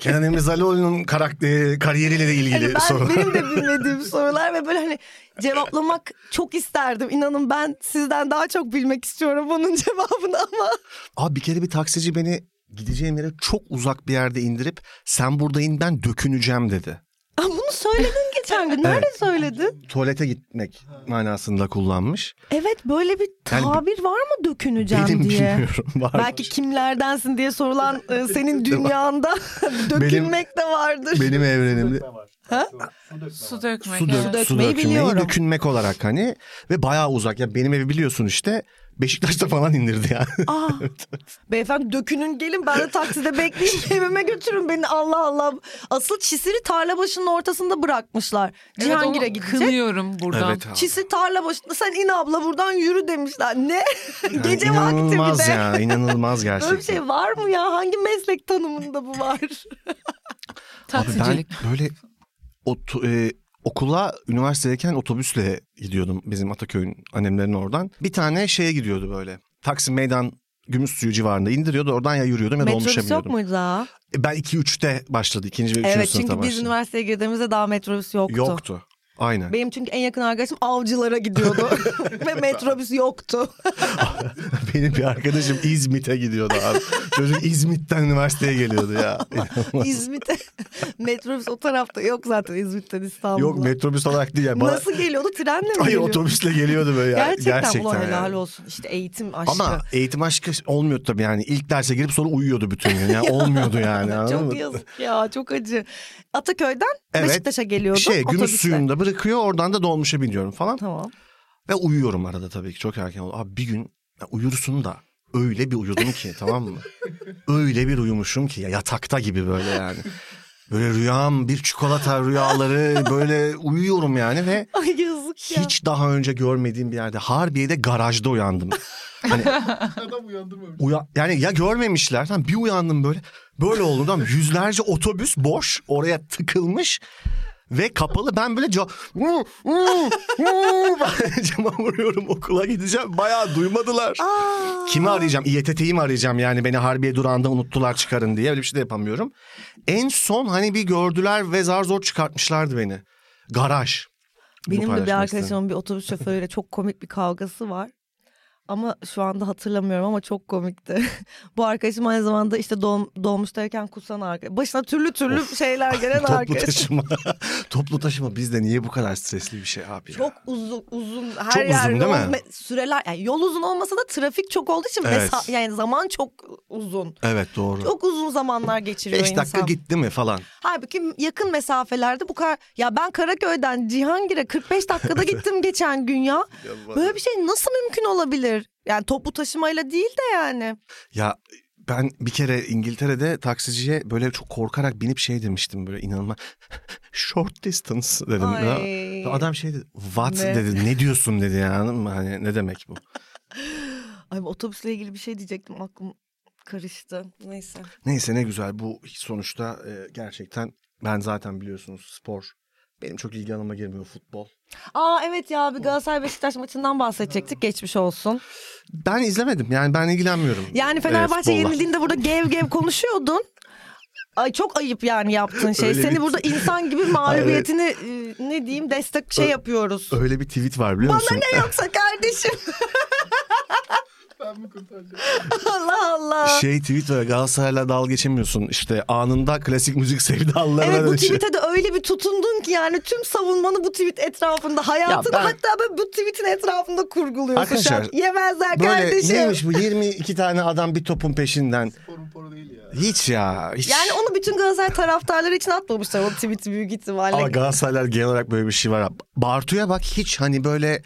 Speaker 1: Kenan İmirzalıoğlu'nun karakteri, kariyeriyle de
Speaker 2: hani
Speaker 1: ilgili
Speaker 2: ben
Speaker 1: soru.
Speaker 2: benim de bilmediğim sorular ve böyle hani cevaplamak çok isterdim. İnanın ben sizden daha çok bilmek istiyorum bunun cevabını ama
Speaker 1: Abi bir kere bir taksici beni gideceğim yere çok uzak bir yerde indirip sen burada in ben döküneceğim dedi.
Speaker 2: Aa, bunu söyledin geçen gün. Nerede söyledin?
Speaker 1: Tuvalete gitmek manasında kullanmış.
Speaker 2: Evet böyle bir
Speaker 1: Yani bi-
Speaker 2: tabir var mı döküneceğim
Speaker 1: Benim
Speaker 2: diye?
Speaker 1: bilmiyorum. Var.
Speaker 2: Belki kimlerdensin diye sorulan e, senin dünyanda dökülmek de vardır.
Speaker 1: benim evrenimde
Speaker 4: Dökme var.
Speaker 2: Ha?
Speaker 4: Su dökme
Speaker 3: su
Speaker 4: var.
Speaker 1: su,
Speaker 3: dökmek. evet.
Speaker 1: dök, su
Speaker 2: dökmeyi
Speaker 1: dökmeyi
Speaker 2: biliyorum.
Speaker 1: dökünmek olarak hani ve bayağı uzak. Ya benim evi biliyorsun işte Beşiktaş'ta falan indirdi yani.
Speaker 2: Aa, beyefendi dökünün gelin ben de takside bekleyeyim evime götürün beni Allah Allah. Asıl çisiri tarla başının ortasında bırakmışlar.
Speaker 3: Evet,
Speaker 2: Cihangir'e
Speaker 3: onu
Speaker 2: gidecek.
Speaker 3: Kınıyorum buradan.
Speaker 1: Evet abi.
Speaker 2: Çisi tarla başında sen in abla buradan yürü demişler. Ne? Gece vakti bir de.
Speaker 1: inanılmaz ya inanılmaz gerçekten.
Speaker 2: Böyle bir şey var mı ya? Hangi meslek tanımında bu var?
Speaker 1: Abi
Speaker 3: Taksicilik.
Speaker 1: ben böyle otu- e, okula üniversitedeyken otobüsle gidiyordum bizim Ataköy'ün annemlerin oradan. Bir tane şeye gidiyordu böyle. Taksim Meydan Gümüş Suyu civarında indiriyordu. Oradan ya yürüyordum ya dolmuşa
Speaker 2: Metrobüs yok
Speaker 1: biniyordum.
Speaker 2: muydu daha?
Speaker 1: E, Ben 2-3'te başladı. 2. ve 3.
Speaker 2: Evet
Speaker 1: sınıfta
Speaker 2: çünkü biz
Speaker 1: başladım.
Speaker 2: üniversiteye girdiğimizde daha metrobüs yoktu.
Speaker 1: Yoktu. Aynen.
Speaker 2: Benim çünkü en yakın arkadaşım avcılara gidiyordu ve metrobüs yoktu.
Speaker 1: Benim bir arkadaşım İzmit'e gidiyordu abi. Çocuk İzmit'ten üniversiteye geliyordu ya.
Speaker 2: İzmit'e metrobüs o tarafta yok zaten İzmit'ten İstanbul'a.
Speaker 1: Yok metrobüs olarak değil ya. Bana-
Speaker 2: Nasıl geliyordu? Trenle mi
Speaker 1: Hayır
Speaker 2: geliyordu?
Speaker 1: otobüsle geliyordu böyle ya.
Speaker 2: Gerçekten, ulan
Speaker 1: yani.
Speaker 2: helal olsun. İşte eğitim aşkı.
Speaker 1: Ama eğitim aşkı olmuyor tabii yani. İlk derse girip sonra uyuyordu bütün gün. Yani olmuyordu yani. Hani anladın mı?
Speaker 2: çok yazık ya çok acı. Ataköy'den
Speaker 1: Evet.
Speaker 2: Beşiktaş'a geliyordum
Speaker 1: Şey gümüş
Speaker 2: otobüsle.
Speaker 1: suyunda bırakıyor oradan da dolmuşa biniyorum falan.
Speaker 2: Tamam.
Speaker 1: Ve uyuyorum arada tabii ki çok erken oldu. Abi bir gün ya uyursun da öyle bir uyudum ki tamam mı? Öyle bir uyumuşum ki ya yatakta gibi böyle yani. Böyle rüyam bir çikolata rüyaları böyle uyuyorum yani ve
Speaker 2: Ay yazık ya.
Speaker 1: hiç daha önce görmediğim bir yerde Harbiye'de garajda uyandım.
Speaker 4: Adam uyandırmamış.
Speaker 1: Uya- yani ya görmemişler tam bir uyandım böyle. Böyle oldum tamam yüzlerce otobüs boş oraya tıkılmış ve kapalı ben böyle ca- Vuu, vuu, vuu. Ben cama vuruyorum okula gideceğim bayağı duymadılar.
Speaker 2: Aa.
Speaker 1: Kimi arayacağım? İETT'yi mi arayacağım yani beni Harbiye durağında unuttular çıkarın diye öyle bir şey de yapamıyorum. En son hani bir gördüler ve zar zor çıkartmışlardı beni. Garaj. Bunu
Speaker 2: Benim de bir
Speaker 1: paylaşmak istedim.
Speaker 2: arkadaşımın bir otobüs şoförüyle çok komik bir kavgası var. Ama şu anda hatırlamıyorum ama çok komikti. Bu arkadaşım aynı zamanda işte doğum, doğmuştayken kusan arkadaş. Başına türlü türlü şeyler gelen
Speaker 1: Toplu
Speaker 2: arkadaş.
Speaker 1: taşıma. Toplu taşıma bizde niye bu kadar stresli bir şey abi ya?
Speaker 2: Çok uzun uzun her
Speaker 1: Çok uzun
Speaker 2: yer
Speaker 1: değil
Speaker 2: yol
Speaker 1: mi?
Speaker 2: me- süreler yani yol uzun olmasa da trafik çok olduğu için
Speaker 1: Evet.
Speaker 2: mesa- yani zaman çok uzun.
Speaker 1: Evet doğru.
Speaker 2: Çok uzun zamanlar geçiriyor
Speaker 1: 5 dakika
Speaker 2: insan.
Speaker 1: gitti mi falan.
Speaker 2: Halbuki yakın mesafelerde bu kadar ya ben Karaköy'den Cihangir'e 45 dakikada gittim geçen gün ya. Böyle bir şey nasıl mümkün olabilir? Yani toplu taşımayla değil de yani.
Speaker 1: Ya ben bir kere İngiltere'de taksiciye böyle çok korkarak binip şey demiştim böyle inanılmaz. Short distance dedim. Ya.
Speaker 2: Ay.
Speaker 1: Adam şey dedi. What
Speaker 2: Ne?
Speaker 1: dedi. Ne diyorsun dedi yani. anladın mı? Hani ne demek bu?
Speaker 2: Ay bu otobüsle ilgili bir şey diyecektim aklım karıştı. Neyse.
Speaker 1: Neyse ne güzel bu sonuçta e, gerçekten ben zaten biliyorsunuz spor. Benim çok ilgi alanıma girmiyor futbol.
Speaker 2: Aa evet ya bir Galatasaray Beşiktaş maçından bahsedecektik. Geçmiş olsun.
Speaker 1: Ben izlemedim yani ben ilgilenmiyorum.
Speaker 2: Yani
Speaker 1: e,
Speaker 2: Fenerbahçe
Speaker 1: futbolla.
Speaker 2: yenildiğinde burada gev gev konuşuyordun. Ay çok ayıp yani yaptığın şey.
Speaker 1: Öyle
Speaker 2: Seni
Speaker 1: bir-
Speaker 2: burada insan gibi mağlubiyetini e, ne diyeyim destek şey yapıyoruz.
Speaker 1: Öyle bir tweet var biliyor musun?
Speaker 2: Yoksa kardeşim.
Speaker 4: Ben mı kurtaracak?
Speaker 2: Allah Allah.
Speaker 1: Şey Twitter'a Galatasaray'la dalga geçemiyorsun. İşte anında klasik müzik şey. sevdalılarına
Speaker 2: Evet bu
Speaker 1: dönüşüyor.
Speaker 2: tweet'e de öyle bir tutundun ki yani tüm savunmanı bu tweet etrafında hayatını
Speaker 1: ben-
Speaker 2: hatta böyle bu tweet'in etrafında kurguluyorsun.
Speaker 1: Arkadaşlar,
Speaker 2: Şak- Yemezler
Speaker 1: Böyle
Speaker 2: kardeşim.
Speaker 1: neymiş bu 22 tane adam bir topun peşinden.
Speaker 4: Sporun poru değil ya.
Speaker 1: Hiç ya. Hiç.
Speaker 2: Yani onu bütün Galatasaray taraftarları için atmamışlar o tweet'i büyük ihtimalle.
Speaker 1: Ama Galatasaraylar genel olarak böyle bir şey var. Bartu'ya bak hiç hani böyle...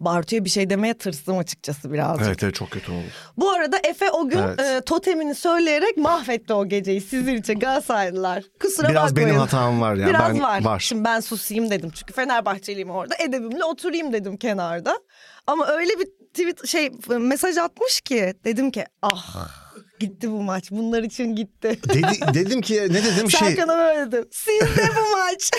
Speaker 2: Bartu'ya bir şey demeye tırstım açıkçası birazcık.
Speaker 1: Evet evet çok kötü oldu.
Speaker 2: Bu arada Efe o gün
Speaker 1: Evet.
Speaker 2: e, totemini söyleyerek mahvetti o geceyi sizin için Galatasaraylılar. Kusura
Speaker 1: Biraz
Speaker 2: bakmayın.
Speaker 1: benim hatam var ya.
Speaker 2: Biraz
Speaker 1: ben,
Speaker 2: var. Şimdi ben susayım dedim çünkü Fenerbahçeliyim orada. Edebimle oturayım dedim kenarda. Ama öyle bir tweet şey mesaj atmış ki dedim ki ah gitti bu maç. Bunlar için gitti.
Speaker 1: Dedi, dedim ki ne dedim şey
Speaker 2: Serkan'a böyle dedim. Sizde bu maç.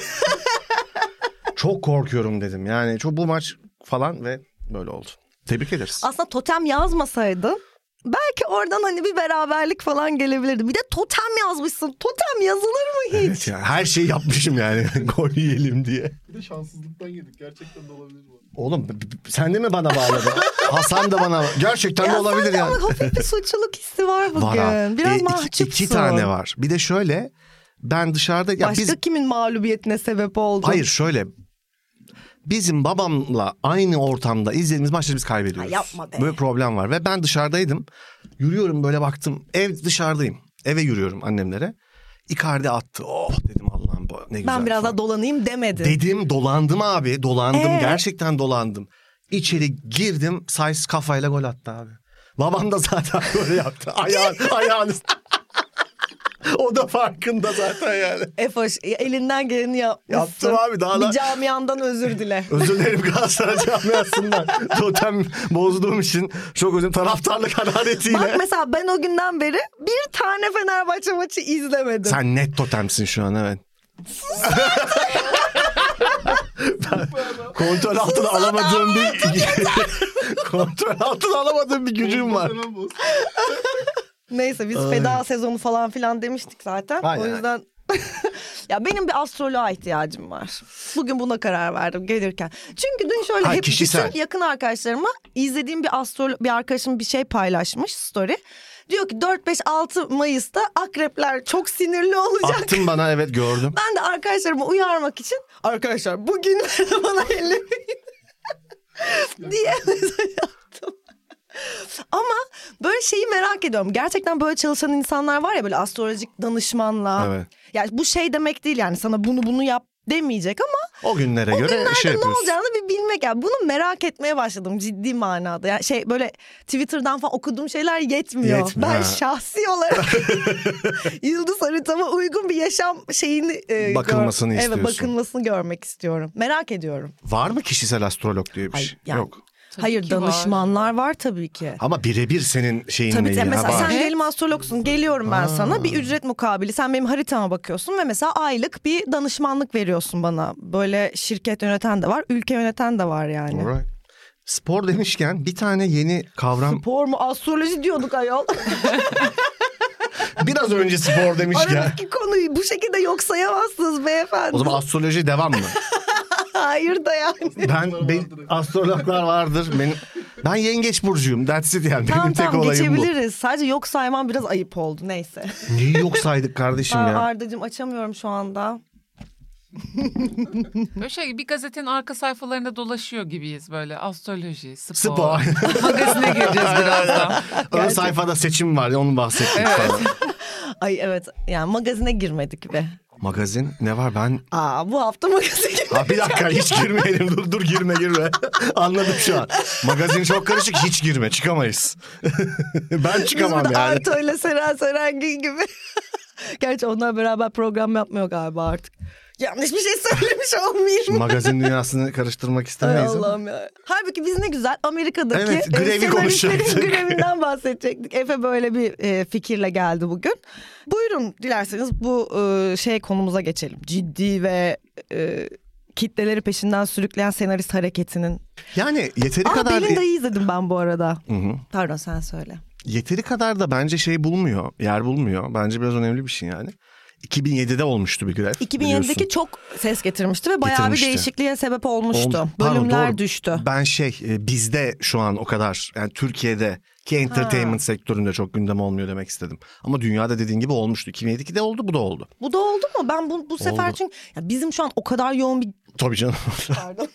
Speaker 1: çok korkuyorum dedim. Yani çok bu maç falan ve böyle oldu. Tebrik ederiz.
Speaker 2: Aslında totem yazmasaydın belki oradan hani bir beraberlik falan gelebilirdi. Bir de totem yazmışsın. Totem yazılır mı hiç?
Speaker 1: Evet ya, her şeyi yapmışım yani gol yiyelim diye.
Speaker 4: Bir de şanssızlıktan yedik. Gerçekten de olabilir bu.
Speaker 1: Oğlum b- b- sen de mi bana bağladın? Hasan da bana gerçekten de
Speaker 2: Ya
Speaker 1: olabilir
Speaker 2: sende
Speaker 1: yani.
Speaker 2: Ama hafif bir suçluluk hissi var bugün.
Speaker 1: Var ha.
Speaker 2: Biraz
Speaker 1: E, iki-
Speaker 2: mahcupsun.
Speaker 1: iki tane var. Bir de şöyle ben dışarıda ya
Speaker 2: Başka
Speaker 1: biz
Speaker 2: kimin mağlubiyetine sebep oldu?
Speaker 1: hayır şöyle bizim babamla aynı ortamda izlediğimiz maçları biz kaybediyoruz.
Speaker 2: Ay yapma be.
Speaker 1: Böyle problem var ve ben dışarıdaydım. Yürüyorum böyle baktım. Ev dışarıdayım. Eve yürüyorum annemlere. Icardi attı. Oh dedim Allah'ım bu ne güzel.
Speaker 2: Ben biraz
Speaker 1: falan.
Speaker 2: daha dolanayım demedin.
Speaker 1: Dedim dolandım abi dolandım
Speaker 2: Ee?
Speaker 1: gerçekten dolandım. İçeri girdim Sayıs kafayla gol attı abi. Babam da zaten böyle yaptı. Ayağın, ayağını... o da farkında zaten yani.
Speaker 2: Efoş e, elinden geleni yapmışsın.
Speaker 1: Yaptım abi, daha da-
Speaker 2: Bir camiandan özür dile.
Speaker 1: Özür dilerim Galatasaray camiasından. Totem bozduğum için çok özür Taraftarlık
Speaker 2: Bak
Speaker 1: hararetiyle.
Speaker 2: mesela ben o günden beri bir tane Fenerbahçe maçı izlemedim.
Speaker 1: Sen net totemsin şu an evet. ben kontrol altına alamadığım bir... kontrol altına alamadığım bir gücüm var.
Speaker 4: Hemen boz.
Speaker 2: Neyse biz
Speaker 1: Ay.
Speaker 2: feda sezonu falan filan demiştik zaten.
Speaker 1: Aynen,
Speaker 2: O yüzden ya benim bir astroloğa ihtiyacım var. Bugün buna karar verdim gelirken. Çünkü dün şöyle
Speaker 1: Ay,
Speaker 2: hep
Speaker 1: kişisel.
Speaker 2: bütün yakın arkadaşlarıma izlediğim bir astrolo bir arkadaşım bir şey paylaşmış story. Diyor ki 4 5 6 Mayıs'ta akrepler çok sinirli olacak.
Speaker 1: Attın bana evet gördüm.
Speaker 2: Ben de arkadaşlarımı uyarmak için arkadaşlar bugün bana ellemeyin diye mesaj attım. Ama böyle şeyi merak ediyorum. Gerçekten böyle çalışan insanlar var ya böyle astrolojik danışmanla.
Speaker 1: Evet.
Speaker 2: Yani bu şey demek değil yani sana bunu bunu yap demeyecek ama
Speaker 1: O günlere göre
Speaker 2: günlerde
Speaker 1: şey
Speaker 2: ne
Speaker 1: yapıyorsun.
Speaker 2: olacağını bir bilmek yani bunu merak etmeye başladım ciddi manada. Yani şey böyle Twitter'dan falan okuduğum şeyler yetmiyor.
Speaker 1: Yetmiyor,
Speaker 2: ben
Speaker 1: ha.
Speaker 2: şahsi olarak yıldız haritama uygun bir yaşam şeyini e,
Speaker 1: Bakılmasını istiyorsun.
Speaker 2: Evet bakılmasını görmek istiyorum. Merak ediyorum.
Speaker 1: Var mı kişisel astrolog diye bir
Speaker 2: Ay,
Speaker 1: şey?
Speaker 2: yani-
Speaker 1: Yok.
Speaker 2: Hayır
Speaker 3: ki var.
Speaker 2: danışmanlar var. tabii ki.
Speaker 1: Ama birebir senin şeyinle
Speaker 2: Tabii
Speaker 1: ilgili.
Speaker 2: tabii. Mesela
Speaker 1: ha, var.
Speaker 2: sen
Speaker 3: Evet.
Speaker 2: diyelim astrologsun. Geliyorum ben sana. Bir ücret mukabili. Sen benim haritama bakıyorsun ve mesela aylık bir danışmanlık veriyorsun bana. Böyle şirket yöneten de var, ülke yöneten de var yani.
Speaker 1: Alright. Spor demişken bir tane yeni kavram.
Speaker 2: Spor mu? Astroloji diyorduk ayol.
Speaker 1: Biraz önce spor demişken.
Speaker 2: Aradaki konuyu bu şekilde yok sayamazsınız beyefendi.
Speaker 1: o zaman astroloji devam mı?
Speaker 2: Hayır da yani.
Speaker 1: Ben, ben astrologlar vardır. Benim ben yengeç burcuyum. That's it yani.
Speaker 2: Tamam
Speaker 1: Benim tek
Speaker 2: tamam
Speaker 1: olayım bu.
Speaker 2: geçebiliriz. Sadece yok sayman biraz ayıp oldu neyse.
Speaker 1: Niye yok saydık kardeşim
Speaker 2: Aa,
Speaker 1: ya?
Speaker 2: Ardacığım açamıyorum şu anda.
Speaker 3: Böyle şey bir gazetenin arka sayfalarında dolaşıyor gibiyiz böyle astroloji, spor.
Speaker 1: Spor.
Speaker 3: Magazine gireceğiz birazdan.
Speaker 1: Ön sayfada seçim var. Onu bahsettik. sana.
Speaker 2: Ay evet yani magazine girmedik be.
Speaker 1: Magazin ne var ben?
Speaker 2: Aa bu hafta magazine girmedik.
Speaker 1: Ha, bir dakika hiç girmeyelim. Dur dur girme girme. Anladım şu an. Magazin çok karışık hiç girme çıkamayız. ben
Speaker 2: Biz
Speaker 1: çıkamam
Speaker 2: burada
Speaker 1: yani.
Speaker 2: Arto ile Seren Serengil gibi. Gerçi onlar beraber program yapmıyor galiba artık. Yanlış bir şey söylemiş olmayayım.
Speaker 1: Magazin dünyasını karıştırmak
Speaker 2: Ay
Speaker 1: istemeyiz. ama-
Speaker 2: Allah'ım ya. Halbuki biz ne güzel Amerika'daki
Speaker 1: Evet,
Speaker 2: e,
Speaker 1: grevi
Speaker 2: senaristlerin
Speaker 1: konuşacaktık.
Speaker 2: grevinden bahsedecektik. Efe böyle bir e, fikirle geldi bugün. Buyurun dilerseniz bu e, şey konumuza geçelim. Ciddi ve e, kitleleri peşinden sürükleyen senarist hareketinin.
Speaker 1: Yani yeteri
Speaker 2: Aa
Speaker 1: kadar e,
Speaker 2: Belin Dayı izledim ben bu arada.
Speaker 1: Hı hı.
Speaker 2: Pardon sen söyle.
Speaker 1: yeteri kadar da bence şey bulmuyor, yer bulmuyor. Bence biraz önemli bir şey yani. 2007'de olmuştu bir grev.
Speaker 2: 2007'deki
Speaker 1: biliyorsun.
Speaker 2: çok ses getirmişti ve bayağı bir
Speaker 1: Getirmişti.
Speaker 2: değişikliğe sebep olmuştu.
Speaker 1: Olmuş- Pardon,
Speaker 2: Bölümler
Speaker 1: doğru.
Speaker 2: düştü.
Speaker 1: Ben şey e, bizde şu an o kadar yani Türkiye'de Ki entertainment sektöründe çok gündem olmuyor demek istedim. Ama dünyada dediğin gibi olmuştu. 2007'de oldu bu da oldu.
Speaker 2: Bu da oldu mu? Ben bu, bu sefer
Speaker 1: Oldu.
Speaker 2: çünkü ya bizim şu an o kadar yoğun bir
Speaker 1: Tabii canım.
Speaker 2: pardon.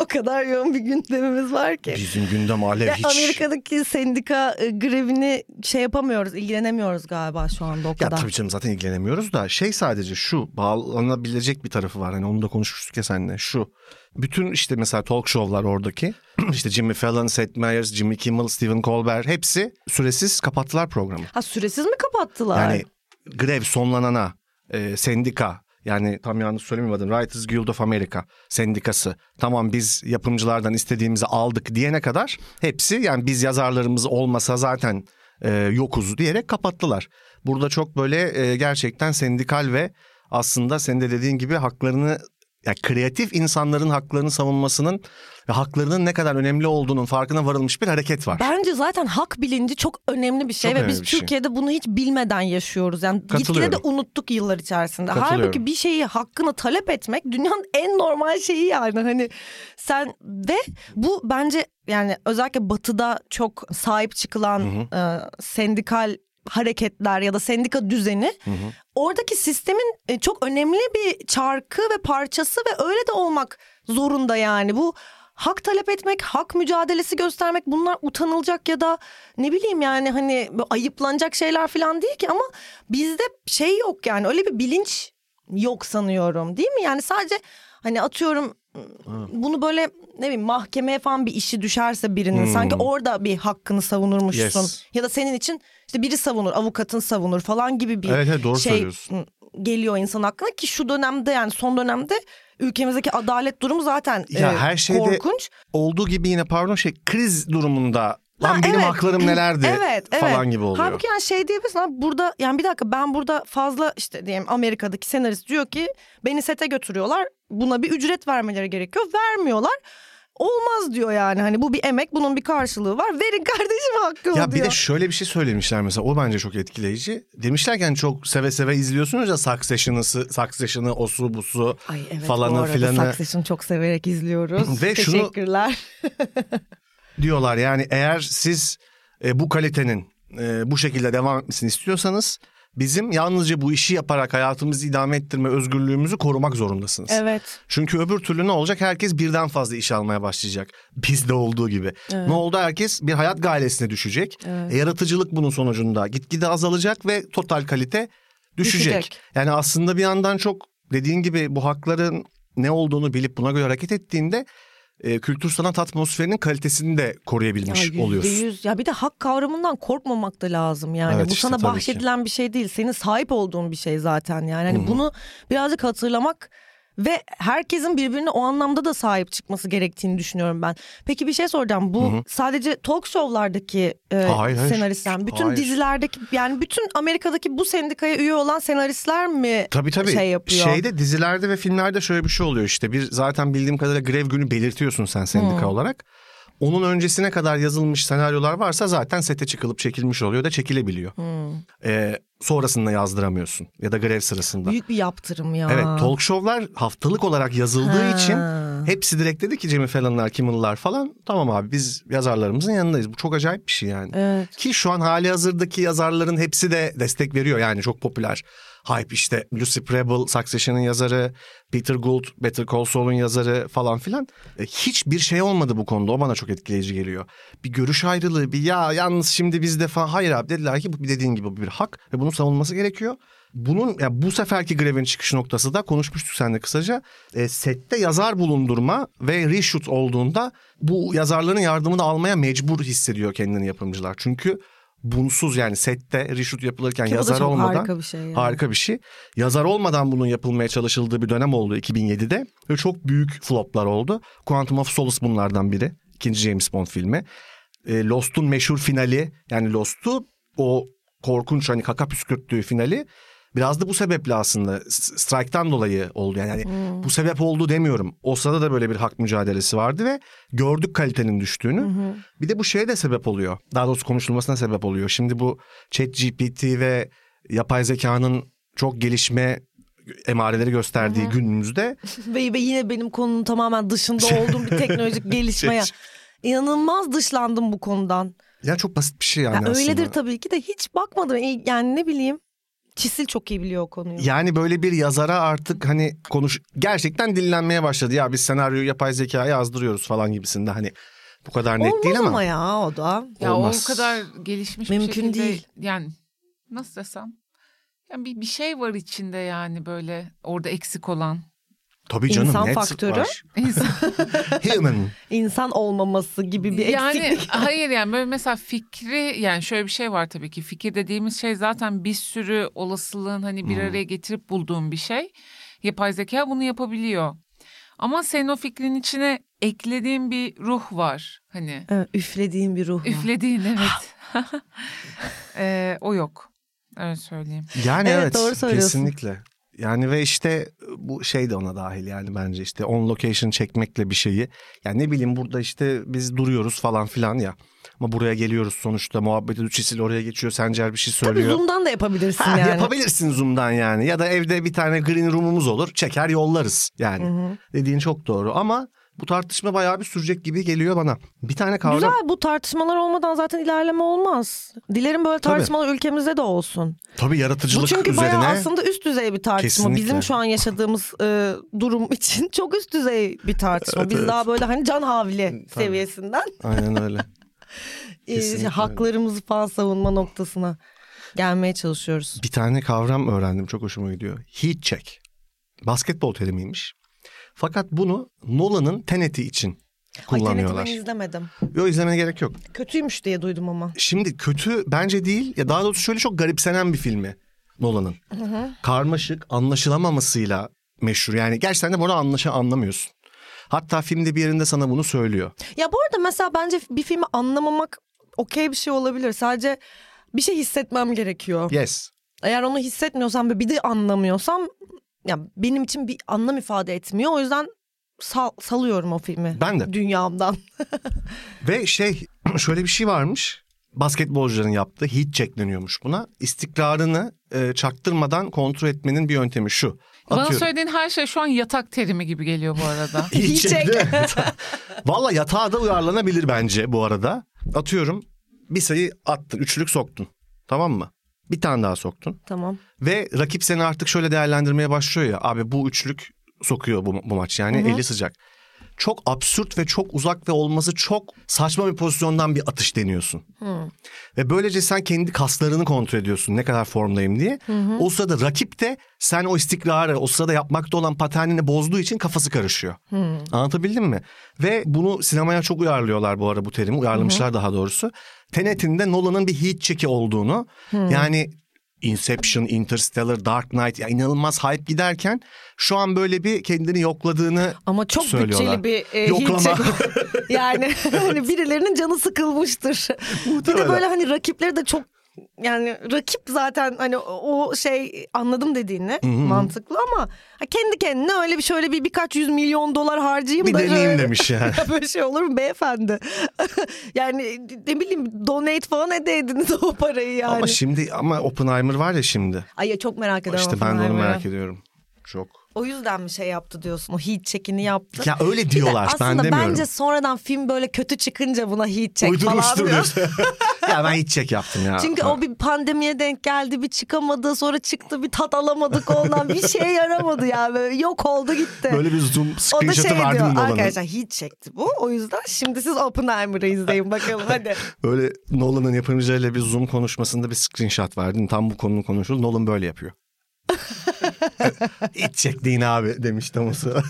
Speaker 2: o kadar yoğun bir gündemimiz var ki.
Speaker 1: Bizim gündem alev
Speaker 2: Ya
Speaker 1: şey, hiç.
Speaker 2: Amerika'daki sendika e, grevini şey yapamıyoruz, ilgilenemiyoruz galiba şu anda o
Speaker 1: Ya
Speaker 2: kadar.
Speaker 1: tabii canım zaten ilgilenemiyoruz da şey sadece şu bağlanabilecek bir tarafı var. Hani onu da konuşmuştuk ya seninle şu. Bütün işte mesela talk show'lar oradaki işte Jimmy Fallon, Seth Meyers, Jimmy Kimmel, Stephen Colbert hepsi süresiz kapattılar programı.
Speaker 2: Ha süresiz mi kapattılar?
Speaker 1: Yani grev sonlanana e, sendika yani tam yanlış söylemeyeyim Writers Guild of America sendikası tamam biz yapımcılardan istediğimizi aldık diyene kadar hepsi yani biz yazarlarımız olmasa zaten e, yokuz diyerek kapattılar. Burada çok böyle e, gerçekten sendikal ve aslında senin de dediğin gibi haklarını yani kreatif insanların haklarını savunmasının ve haklarının ne kadar önemli olduğunun farkına varılmış bir hareket var.
Speaker 2: Bence zaten hak bilinci çok önemli bir şey
Speaker 1: Çok
Speaker 2: ve biz
Speaker 1: önemli bir şey.
Speaker 2: Türkiye'de bunu hiç bilmeden yaşıyoruz. Yani gitgide
Speaker 1: Katılıyorum.
Speaker 2: de unuttuk yıllar içerisinde.
Speaker 1: Katılıyorum.
Speaker 2: Halbuki bir şeyi hakkını talep etmek dünyanın en normal şeyi yani hani sen ve bu bence yani özellikle batıda çok sahip çıkılan e, sendikal hareketler ya da sendika düzeni oradaki sistemin e, çok önemli bir çarkı ve parçası ve öyle de olmak zorunda yani bu hak talep etmek, hak mücadelesi göstermek bunlar utanılacak ya da ne bileyim yani hani bu ayıplanacak şeyler falan değil ki ama bizde şey yok yani öyle bir bilinç yok sanıyorum değil mi? Yani sadece hani atıyorum bunu böyle ne bileyim mahkemeye falan bir işi düşerse birinin sanki orada bir hakkını savunurmuşsun.
Speaker 1: Yes.
Speaker 2: Ya da senin için işte biri savunur, avukatın savunur falan gibi bir
Speaker 1: Evet, evet, doğru
Speaker 2: şey
Speaker 1: söylüyorsun.
Speaker 2: geliyor insan aklına ki şu dönemde yani son dönemde ülkemizdeki adalet durumu zaten
Speaker 1: Ya
Speaker 2: e,
Speaker 1: her şeyde-
Speaker 2: korkunç.
Speaker 1: olduğu gibi yine pardon şey kriz durumunda lan benim
Speaker 2: evet.
Speaker 1: haklarım nelerdi
Speaker 2: Evet, evet.
Speaker 1: falan gibi oluyor.
Speaker 2: Halbuki yani şey diyebilirsin abi burada yani bir dakika ben burada fazla işte diyelim Amerika'daki senarist diyor ki beni sete götürüyorlar. Buna bir ücret vermeleri gerekiyor. Vermiyorlar. Olmaz diyor yani hani bu bir emek bunun bir karşılığı var. Verin kardeşim hakkımı
Speaker 1: ya bir
Speaker 2: diyor.
Speaker 1: de şöyle bir şey söylemişler mesela o bence çok etkileyici. Demişler ki hani çok seve seve izliyorsunuz ya Succession'ı, Succession'ı, osu busu
Speaker 2: Ay evet bu
Speaker 1: falanı
Speaker 2: arada
Speaker 1: filanı.
Speaker 2: Succession'ı çok severek izliyoruz.
Speaker 1: Ve şunu-
Speaker 2: Teşekkürler.
Speaker 1: diyorlar. Yani eğer siz e, bu kalitenin e, bu şekilde devam etmesini istiyorsanız bizim yalnızca bu işi yaparak hayatımızı idame ettirme özgürlüğümüzü korumak zorundasınız.
Speaker 2: Evet.
Speaker 1: Çünkü öbür türlü ne olacak? Herkes birden fazla iş almaya başlayacak. Bizde olduğu gibi. Ne oldu? Herkes bir hayat gailesine düşecek. E, yaratıcılık bunun sonucunda gitgide azalacak ve total kalite düşecek.
Speaker 2: Düşecek.
Speaker 1: Yani aslında bir yandan çok dediğin gibi bu hakların ne olduğunu bilip buna göre hareket ettiğinde e, kültür sanat atmosferinin kalitesini de koruyabilmiş
Speaker 2: yüzde
Speaker 1: oluyorsun.
Speaker 2: yüz. Ya bir de hak kavramından korkmamak da lazım yani.
Speaker 1: Evet
Speaker 2: Bu
Speaker 1: işte,
Speaker 2: sana
Speaker 1: tabii ki.
Speaker 2: bahşedilen bir şey değil. Senin sahip olduğun bir şey zaten yani. Hani bunu birazcık hatırlamak ve herkesin birbirine o anlamda da sahip çıkması gerektiğini düşünüyorum ben. Peki bir şey soracağım. Bu sadece talk show'lardaki e,
Speaker 1: Hayır, hayır.
Speaker 2: senaristler, bütün
Speaker 1: Hayır.
Speaker 2: dizilerdeki yani bütün Amerika'daki bu sendikaya üye olan senaristler mi
Speaker 1: Tabii tabii.
Speaker 2: şey yapıyor?
Speaker 1: Şeyde dizilerde ve filmlerde şöyle bir şey oluyor işte. Bir zaten bildiğim kadarıyla grev günü belirtiyorsun sen sendika olarak. Onun öncesine kadar yazılmış senaryolar varsa zaten sete çıkılıp çekilmiş oluyor da çekilebiliyor. Ee, sonrasında yazdıramıyorsun ya da grev sırasında.
Speaker 2: Büyük bir yaptırım ya.
Speaker 1: Evet talk show'lar haftalık olarak yazıldığı
Speaker 2: Ha.
Speaker 1: için hepsi direkt dedi ki Cemil Fallon'lar, Kimmel'lar falan tamam abi biz yazarlarımızın yanındayız. Bu çok acayip bir şey yani.
Speaker 2: Evet.
Speaker 1: Ki şu an hali hazırdaki yazarların hepsi de destek veriyor yani çok popüler. Hype işte Lucy Preble, Succession'ın yazarı, Peter Gould, Better Call Saul'un yazarı falan filan. E, Hiçbir şey olmadı bu konuda o bana çok etkileyici geliyor. Bir görüş ayrılığı, bir ya yalnız şimdi bizde falan. Hayır abi dediler ki bu dediğin gibi bu bir hak ve bunun savunması gerekiyor. Bunun ya bu seferki grevin çıkış noktası da konuşmuştuk seninle kısaca. E, sette yazar bulundurma ve reshoot olduğunda bu yazarların yardımını almaya mecbur hissediyor kendini yapımcılar. Çünkü bunsuz yani sette reshoot yapılırken
Speaker 2: Ki bu da
Speaker 1: yazar
Speaker 2: çok
Speaker 1: olmadan
Speaker 2: harika bir şey yani.
Speaker 1: harika bir şey. Yazar olmadan bunun yapılmaya çalışıldığı bir dönem oldu 2007'de ve çok büyük floplar oldu. Quantum of Solace bunlardan biri. İkinci James Bond filmi. E, Lost'un meşhur finali yani Lost'u o korkunç hani kaka püskürttüğü finali biraz da bu sebeple aslında s- strike'tan dolayı oldu yani, Yani bu sebep oldu demiyorum. O sırada da böyle bir hak mücadelesi vardı ve gördük kalitenin düştüğünü. Bir de bu şeye de sebep oluyor. Daha doğrusu konuşulmasına sebep oluyor. Şimdi bu chat GPT ve yapay zekanın çok gelişme emareleri gösterdiği günümüzde
Speaker 2: ve, ve yine benim konunun
Speaker 1: Şey-
Speaker 2: tamamen dışında olduğum bir teknolojik gelişmeye. İnanılmaz dışlandım bu konudan.
Speaker 1: Ya çok basit bir şey yani
Speaker 2: Ya
Speaker 1: aslında.
Speaker 2: öyledir tabii ki de hiç bakmadım. İyi- Yani ne bileyim. Çisil çok iyi biliyor o konuyu.
Speaker 1: Yani böyle bir yazara artık hani konuş gerçekten dillenmeye başladı. Ya biz senaryoyu yapay zekaya yazdırıyoruz falan gibisinde hani bu kadar net
Speaker 2: Olmaz
Speaker 1: değil ama.
Speaker 2: ama ya o da.
Speaker 3: Ya
Speaker 1: Olmaz.
Speaker 3: o kadar gelişmiş bir
Speaker 2: Mümkün
Speaker 3: şekilde
Speaker 2: değil.
Speaker 3: yani nasıl desem yani bir, bir şey var içinde yani böyle orada eksik olan
Speaker 1: Tabii canım
Speaker 2: İnsan
Speaker 1: net
Speaker 2: faktörü.
Speaker 1: var.
Speaker 3: insan.
Speaker 1: Human.
Speaker 2: İnsan olmaması gibi bir
Speaker 3: yani
Speaker 2: eksiklik.
Speaker 3: hayır yani böyle mesela fikri yani şöyle bir şey var tabii ki fikir dediğimiz şey zaten bir sürü olasılığın hani bir
Speaker 1: Hmm.
Speaker 3: araya getirip bulduğun bir şey. Yapay zeka bunu yapabiliyor. Ama senin o fikrin içine eklediğin bir ruh var hani.
Speaker 2: Evet, üflediğim bir ruh var.
Speaker 3: Üflediğin evet. Ee, o yok. Öyle söyleyeyim.
Speaker 1: Yani evet,
Speaker 2: Evet, doğru söylüyorsun.
Speaker 1: kesinlikle. Yani ve işte bu şey de ona dahil yani bence işte on location çekmekle bir şeyi. Yani ne bileyim burada işte biz duruyoruz falan filan ya. Ama buraya geliyoruz sonuçta muhabbeti Çisil oraya geçiyor Sencer bir şey
Speaker 2: Tabii
Speaker 1: söylüyor.
Speaker 2: Zoom'dan da yapabilirsin
Speaker 1: Ha,
Speaker 2: yani.
Speaker 1: Yapabilirsin Zoom'dan yani ya da evde bir tane green room'umuz olur çeker yollarız yani. Dediğin çok doğru ama bu tartışma bayağı bir sürecek gibi geliyor bana. Bir tane kavram
Speaker 2: Güzel bu tartışmalar olmadan zaten ilerleme olmaz. Dilerim böyle
Speaker 1: Tabii.
Speaker 2: tartışmalar ülkemizde de olsun.
Speaker 1: tabii yaratıcılık
Speaker 2: bu çünkü
Speaker 1: üzerine.
Speaker 2: bayağı aslında üst düzey bir tartışma.
Speaker 1: Kesinlikle.
Speaker 2: Bizim şu an yaşadığımız e, durum için çok üst düzey bir tartışma.
Speaker 1: Evet,
Speaker 2: Biz
Speaker 1: evet.
Speaker 2: daha böyle hani can havli
Speaker 1: Tabii.
Speaker 2: seviyesinden
Speaker 1: Aynen öyle.
Speaker 2: e,
Speaker 1: Kesinlikle.
Speaker 2: haklarımızı falan savunma noktasına gelmeye çalışıyoruz.
Speaker 1: Bir tane kavram öğrendim çok hoşuma gidiyor. Heat check. Basketbol terimiymiş. Fakat bunu Nolan'ın Tenet'i için
Speaker 2: Ay
Speaker 1: kullanıyorlar.
Speaker 2: Tenet'i ben izlemedim.
Speaker 1: Yo izlemene gerek yok.
Speaker 2: Kötüymüş diye duydum ama.
Speaker 1: Şimdi kötü bence değil. Ya daha doğrusu şöyle çok garipsenen bir filmi Nolan'ın. Karmaşık, anlaşılamamasıyla meşhur. Yani gerçekten de bunu anlaşa anlamıyorsun. Hatta filmde bir yerinde sana bunu söylüyor.
Speaker 2: Ya bu arada mesela bence bir filmi anlamamak okey bir şey olabilir. Sadece bir şey hissetmem gerekiyor.
Speaker 1: Yes.
Speaker 2: Eğer onu hissetmiyorsam ve bir de anlamıyorsam ya benim için bir anlam ifade etmiyor. O yüzden sal- salıyorum o filmi.
Speaker 1: Ben de.
Speaker 2: Dünyamdan.
Speaker 1: Ve şey şöyle bir şey varmış. Basketbolcuların yaptığı heat check deniyormuş buna. İstikrarını e, çaktırmadan kontrol etmenin bir yöntemi şu.
Speaker 3: Bana söylediğin her şey şu an yatak terimi gibi geliyor bu arada.
Speaker 1: Heat
Speaker 2: Heat
Speaker 1: check.
Speaker 2: check.
Speaker 1: de- Valla yatağa da uyarlanabilir bence bu arada. Atıyorum bir sayı attın, üçlük soktun. Tamam mı? Bir tane daha soktun.
Speaker 2: tamam.
Speaker 1: Ve rakip seni artık şöyle değerlendirmeye başlıyor ya. Abi bu üçlük sokuyor bu, bu maç yani eli sıcak. Çok absürt ve çok uzak ve olması çok saçma bir pozisyondan bir atış deniyorsun. Ve böylece sen kendi kaslarını kontrol ediyorsun ne kadar formdayım diye. O sırada rakip de sen o istikrarı o sırada yapmakta olan paternini bozduğu için kafası karışıyor. Anlatabildim mi? Ve bunu sinemaya çok uyarlıyorlar bu ara bu terimi uyarlamışlar daha doğrusu. Tenet'in de Nolan'ın bir heat check'i olduğunu yani Inception, Interstellar, Dark Knight ya inanılmaz hype giderken şu an böyle bir kendini yokladığını
Speaker 2: Ama çok
Speaker 1: Söylüyorlar.
Speaker 2: bütçeli bir e,
Speaker 1: Yoklama.
Speaker 2: hiç- yani hani birilerinin canı sıkılmıştır. bir de
Speaker 1: Muhtemelen.
Speaker 2: böyle hani rakipleri de çok yani rakip zaten hani o o şey anladım dediğini mantıklı ama ha, kendi kendine öyle bir şöyle bir birkaç yüz milyon dolar harcayayım
Speaker 1: bir
Speaker 2: da
Speaker 1: deneyim
Speaker 2: şöyle-
Speaker 1: demiş yani.
Speaker 2: Ya böyle şey olur mu beyefendi? yani ne bileyim donate falan edeydiniz o parayı yani.
Speaker 1: Ama şimdi ama Oppenheimer var ya şimdi.
Speaker 2: Ay ya çok merak ediyorum.
Speaker 1: İşte ben de onu
Speaker 2: Oppenheimer'ı.
Speaker 1: merak ediyorum. Çok.
Speaker 2: O yüzden mi şey yaptı diyorsun? O heat check'ini yaptı.
Speaker 1: Ya öyle
Speaker 2: Bir de
Speaker 1: diyorlar ben
Speaker 2: aslında
Speaker 1: demiyorum.
Speaker 2: bence sonradan film böyle kötü çıkınca buna heat check falan
Speaker 1: Uydurmuştur
Speaker 2: diyor.
Speaker 1: diyorsun. ya ben hiç çek yaptım ya.
Speaker 2: Çünkü o bir pandemiye denk geldi bir çıkamadı sonra çıktı bir tat alamadık ondan bir şeye yaramadı ya böyle yok oldu gitti.
Speaker 1: Böyle bir zoom screenshot'ı vardı bunun Nolan'ın.
Speaker 2: şey arkadaşlar heat check'ti bu o yüzden şimdi siz Oppenheimer'ı izleyin bakalım hadi.
Speaker 1: Böyle Nolan'ın yapımcıyla bir zoom konuşmasında bir screenshot vardı. Tam bu konunun konuşuldu. Nolan böyle yapıyor. hiç çektiğin abi demiş tam o sıra.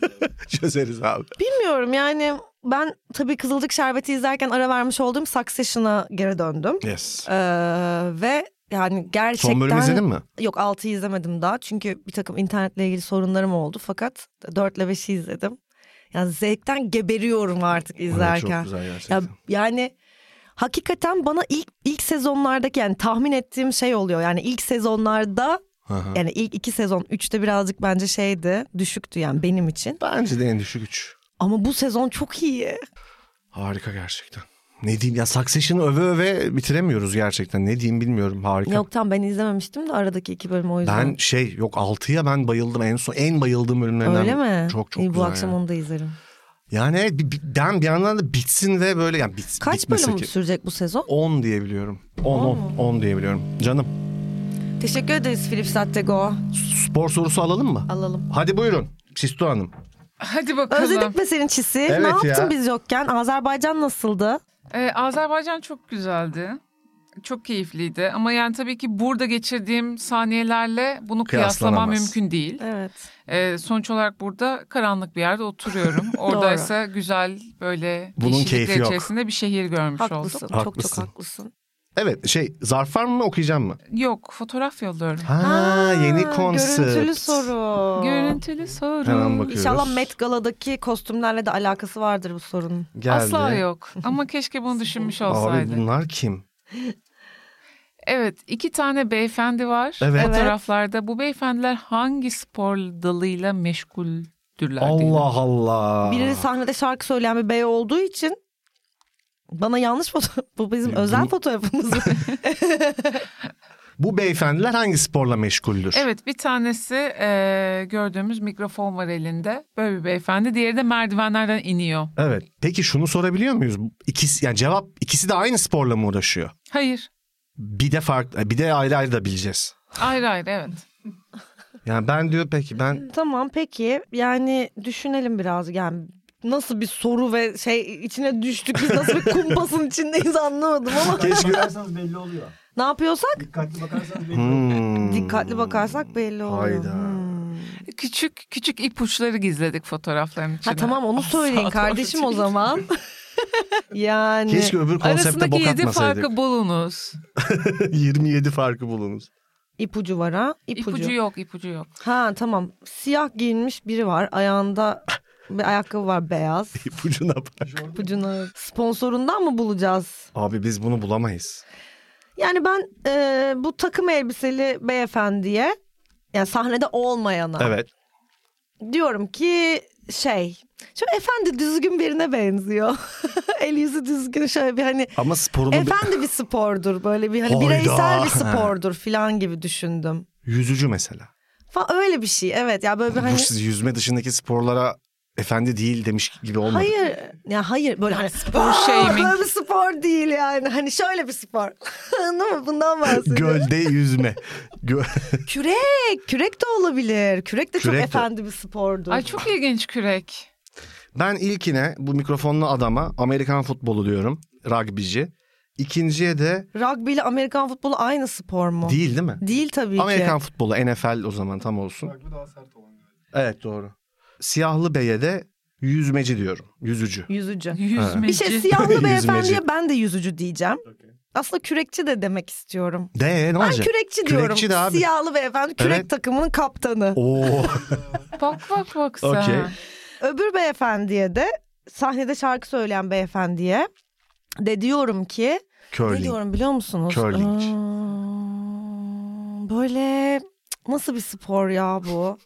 Speaker 1: Çözeriz abi.
Speaker 2: Bilmiyorum yani ben tabii Kızılcık Şerbeti izlerken ara vermiş olduğum Succession'a geri döndüm.
Speaker 1: Yes.
Speaker 2: Ee, ve yani gerçekten...
Speaker 1: Son bölümü izledin mi?
Speaker 2: Yok 6'yı izlemedim daha çünkü bir takım internetle ilgili sorunlarım oldu fakat 4 ile 5'i izledim. Yani zevkten geberiyorum artık izlerken.
Speaker 1: çok güzel gerçekten.
Speaker 2: Ya, yani hakikaten bana ilk ilk sezonlardaki yani tahmin ettiğim şey oluyor. Yani ilk sezonlarda
Speaker 1: Hı hı.
Speaker 2: yani ilk iki sezon üçte birazcık bence şeydi düşüktü yani benim için.
Speaker 1: Bence de en düşük üç.
Speaker 2: Ama bu sezon çok iyi.
Speaker 1: Harika gerçekten. Ne diyeyim ya Succession'ı öve öve bitiremiyoruz gerçekten. Ne diyeyim bilmiyorum harika.
Speaker 2: Yok tam ben izlememiştim de aradaki iki bölüm o yüzden.
Speaker 1: Ben şey yok 6'ya ben bayıldım en son en bayıldığım bölümlerinden.
Speaker 2: Öyle mi?
Speaker 1: Çok çok
Speaker 2: İyi,
Speaker 1: güzel.
Speaker 2: Bu akşam
Speaker 1: yani.
Speaker 2: onu da izlerim.
Speaker 1: Yani evet, bir, bir, ben bir yandan da bitsin ve böyle yani bitsin.
Speaker 2: Kaç
Speaker 1: bitmesi
Speaker 2: bölüm
Speaker 1: ki-
Speaker 2: sürecek bu sezon?
Speaker 1: 10 diyebiliyorum. 10 10 10 diyebiliyorum. Canım
Speaker 2: Teşekkür ederiz Philip Sattego.
Speaker 1: spor sorusu alalım mı?
Speaker 2: Alalım.
Speaker 1: Hadi buyurun. Sisto Hanım.
Speaker 3: Hadi bakalım.
Speaker 2: Özledik mi senin çisi? ne
Speaker 1: Evet
Speaker 2: yaptın
Speaker 1: ya.
Speaker 2: biz yokken? Azerbaycan nasıldı?
Speaker 3: Ee, Azerbaycan çok güzeldi. Çok keyifliydi ama yani tabii ki burada geçirdiğim saniyelerle bunu kıyaslamam
Speaker 1: Kıyaslanamaz.
Speaker 3: mümkün değil.
Speaker 2: Evet.
Speaker 3: Ee, sonuç olarak burada karanlık bir yerde oturuyorum. Oradaysa güzel böyle
Speaker 1: Bunun
Speaker 3: yeşillikler
Speaker 1: keyfi yok.
Speaker 3: içerisinde bir şehir görmüş
Speaker 2: Haklısın. Çok
Speaker 3: oldum.
Speaker 2: çok
Speaker 1: Haklısın.
Speaker 2: haklısın.
Speaker 1: Evet şey zarf var mı okuyacağım mı?
Speaker 3: Yok fotoğraf yolluyorum.
Speaker 1: Ha, yeni konsept.
Speaker 2: Görüntülü soru.
Speaker 3: Görüntülü soru.
Speaker 1: Hemen bakıyorum.
Speaker 2: İnşallah Met Gala'daki kostümlerle de alakası vardır bu sorunun.
Speaker 1: Geldi.
Speaker 3: Asla yok ama keşke bunu düşünmüş
Speaker 1: Abi
Speaker 3: olsaydı.
Speaker 1: bunlar kim?
Speaker 3: Evet iki tane beyefendi var
Speaker 1: Evet.
Speaker 3: fotoğraflarda. Bu beyefendiler hangi spor dalıyla meşguldürler? diyelim.
Speaker 1: Allah Allah.
Speaker 2: Birileri sahnede şarkı söyleyen bir bey olduğu için bana yanlış foto bu bizim
Speaker 1: Bunu-
Speaker 2: özel fotoğrafımız.
Speaker 1: Bu beyefendiler hangi sporla meşguldür?
Speaker 3: Evet bir tanesi e, gördüğümüz mikrofon var elinde. Böyle bir beyefendi. Diğeri de merdivenlerden iniyor.
Speaker 1: Evet. Peki şunu sorabiliyor muyuz? İkisi yani cevap ikisi de aynı sporla mı uğraşıyor?
Speaker 3: Hayır.
Speaker 1: Bir de farklı bir de ayrı ayrı da bileceğiz.
Speaker 3: Ayrı ayrı evet.
Speaker 1: Yani ben diyor peki ben
Speaker 2: tamam peki yani düşünelim biraz yani nasıl bir soru ve şey içine düştük biz nasıl bir kumpasın içindeyiz anlamadım ama
Speaker 4: Keşke. Bakarsanız belli oluyor.
Speaker 2: ne yapıyorsak
Speaker 4: Dikkatli bakarsanız belli oluyor.
Speaker 1: Hmm.
Speaker 2: dikkatli bakarsak belli oluyor.
Speaker 1: Hayda.
Speaker 2: Hmm.
Speaker 3: Küçük küçük ipuçları gizledik fotoğrafların içine.
Speaker 2: Ha tamam onu söyleyin
Speaker 3: doğru
Speaker 2: kardeşim o
Speaker 3: değil.
Speaker 2: zaman. yani
Speaker 1: Keşke öbür konsepte
Speaker 3: Arasındaki
Speaker 1: bok
Speaker 3: yedi
Speaker 1: atmasaydık.
Speaker 3: farkı bulunuz.
Speaker 1: 27 farkı bulunuz.
Speaker 2: ipucu var ha ipucu.
Speaker 3: İpucu yok ipucu yok.
Speaker 2: Ha tamam siyah giyinmiş biri var ayağında bir ayakkabı var beyaz.
Speaker 1: İpucuna bak.
Speaker 2: ipucunu sponsorundan mı bulacağız?
Speaker 1: Abi biz bunu bulamayız.
Speaker 2: Yani ben e, bu takım elbiseli beyefendiye yani sahnede olmayana
Speaker 1: Evet.
Speaker 2: diyorum ki şey şu efendi düzgün birine benziyor. El yüzü düzgün şöyle bir hani
Speaker 1: Ama sporunun bir-
Speaker 2: efendi bir spordur böyle bir hani
Speaker 1: Hayda.
Speaker 2: bireysel bir spordur filan gibi düşündüm.
Speaker 1: yüzücü mesela.
Speaker 2: Falan öyle bir şey evet ya böyle bir hani
Speaker 1: Bu siz yüzme dışındaki sporlara efendi değil demiş gibi olmadı.
Speaker 2: Hayır. Ya hayır böyle hani spor
Speaker 3: shaming.
Speaker 2: Böyle bir spor değil yani. Hani şöyle bir spor. Anladın mı? Bundan bahsediyorum.
Speaker 1: Gölde yüzme. Gö-
Speaker 2: Kürek. Kürek de olabilir. Kürek de
Speaker 1: Kürek de-
Speaker 2: çok efendi bir spordur.
Speaker 3: Ay çok ilginç kürek.
Speaker 1: ben ilkine bu mikrofonlu adama Amerikan futbolu diyorum. Rugbyci. İkinciye de
Speaker 2: Rugby ile Amerikan futbolu aynı spor mu?
Speaker 1: değil değil mi?
Speaker 2: Değil tabii
Speaker 1: Amerikan
Speaker 2: ki.
Speaker 1: futbolu NFL o zaman tam olsun.
Speaker 4: Farklı daha sert olan. galiba.
Speaker 1: Evet doğru. Siyahlı beye de yüzmeci diyorum. Yüzücü.
Speaker 2: Yüzücü.
Speaker 3: Yüzmeci.
Speaker 2: Bir şey siyahlı
Speaker 1: Yüzmeci.
Speaker 2: beyefendiye ben de yüzücü diyeceğim.
Speaker 4: Okey.
Speaker 2: Aslında kürekçi de demek istiyorum.
Speaker 1: De ne
Speaker 2: Ben
Speaker 1: olacak?
Speaker 2: kürekçi diyorum.
Speaker 1: Kürekçi de abi.
Speaker 2: Siyahlı beyefendi kürek
Speaker 1: Evet.
Speaker 2: takımının kaptanı.
Speaker 1: Oo.
Speaker 3: Bak bak bak sen.
Speaker 1: Okey.
Speaker 2: Öbür beyefendiye de sahnede şarkı söyleyen beyefendiye de diyorum ki ne
Speaker 1: Curling.
Speaker 2: diyorum biliyor musunuz?
Speaker 1: Curling.
Speaker 2: Ee, böyle cık, nasıl bir spor ya bu?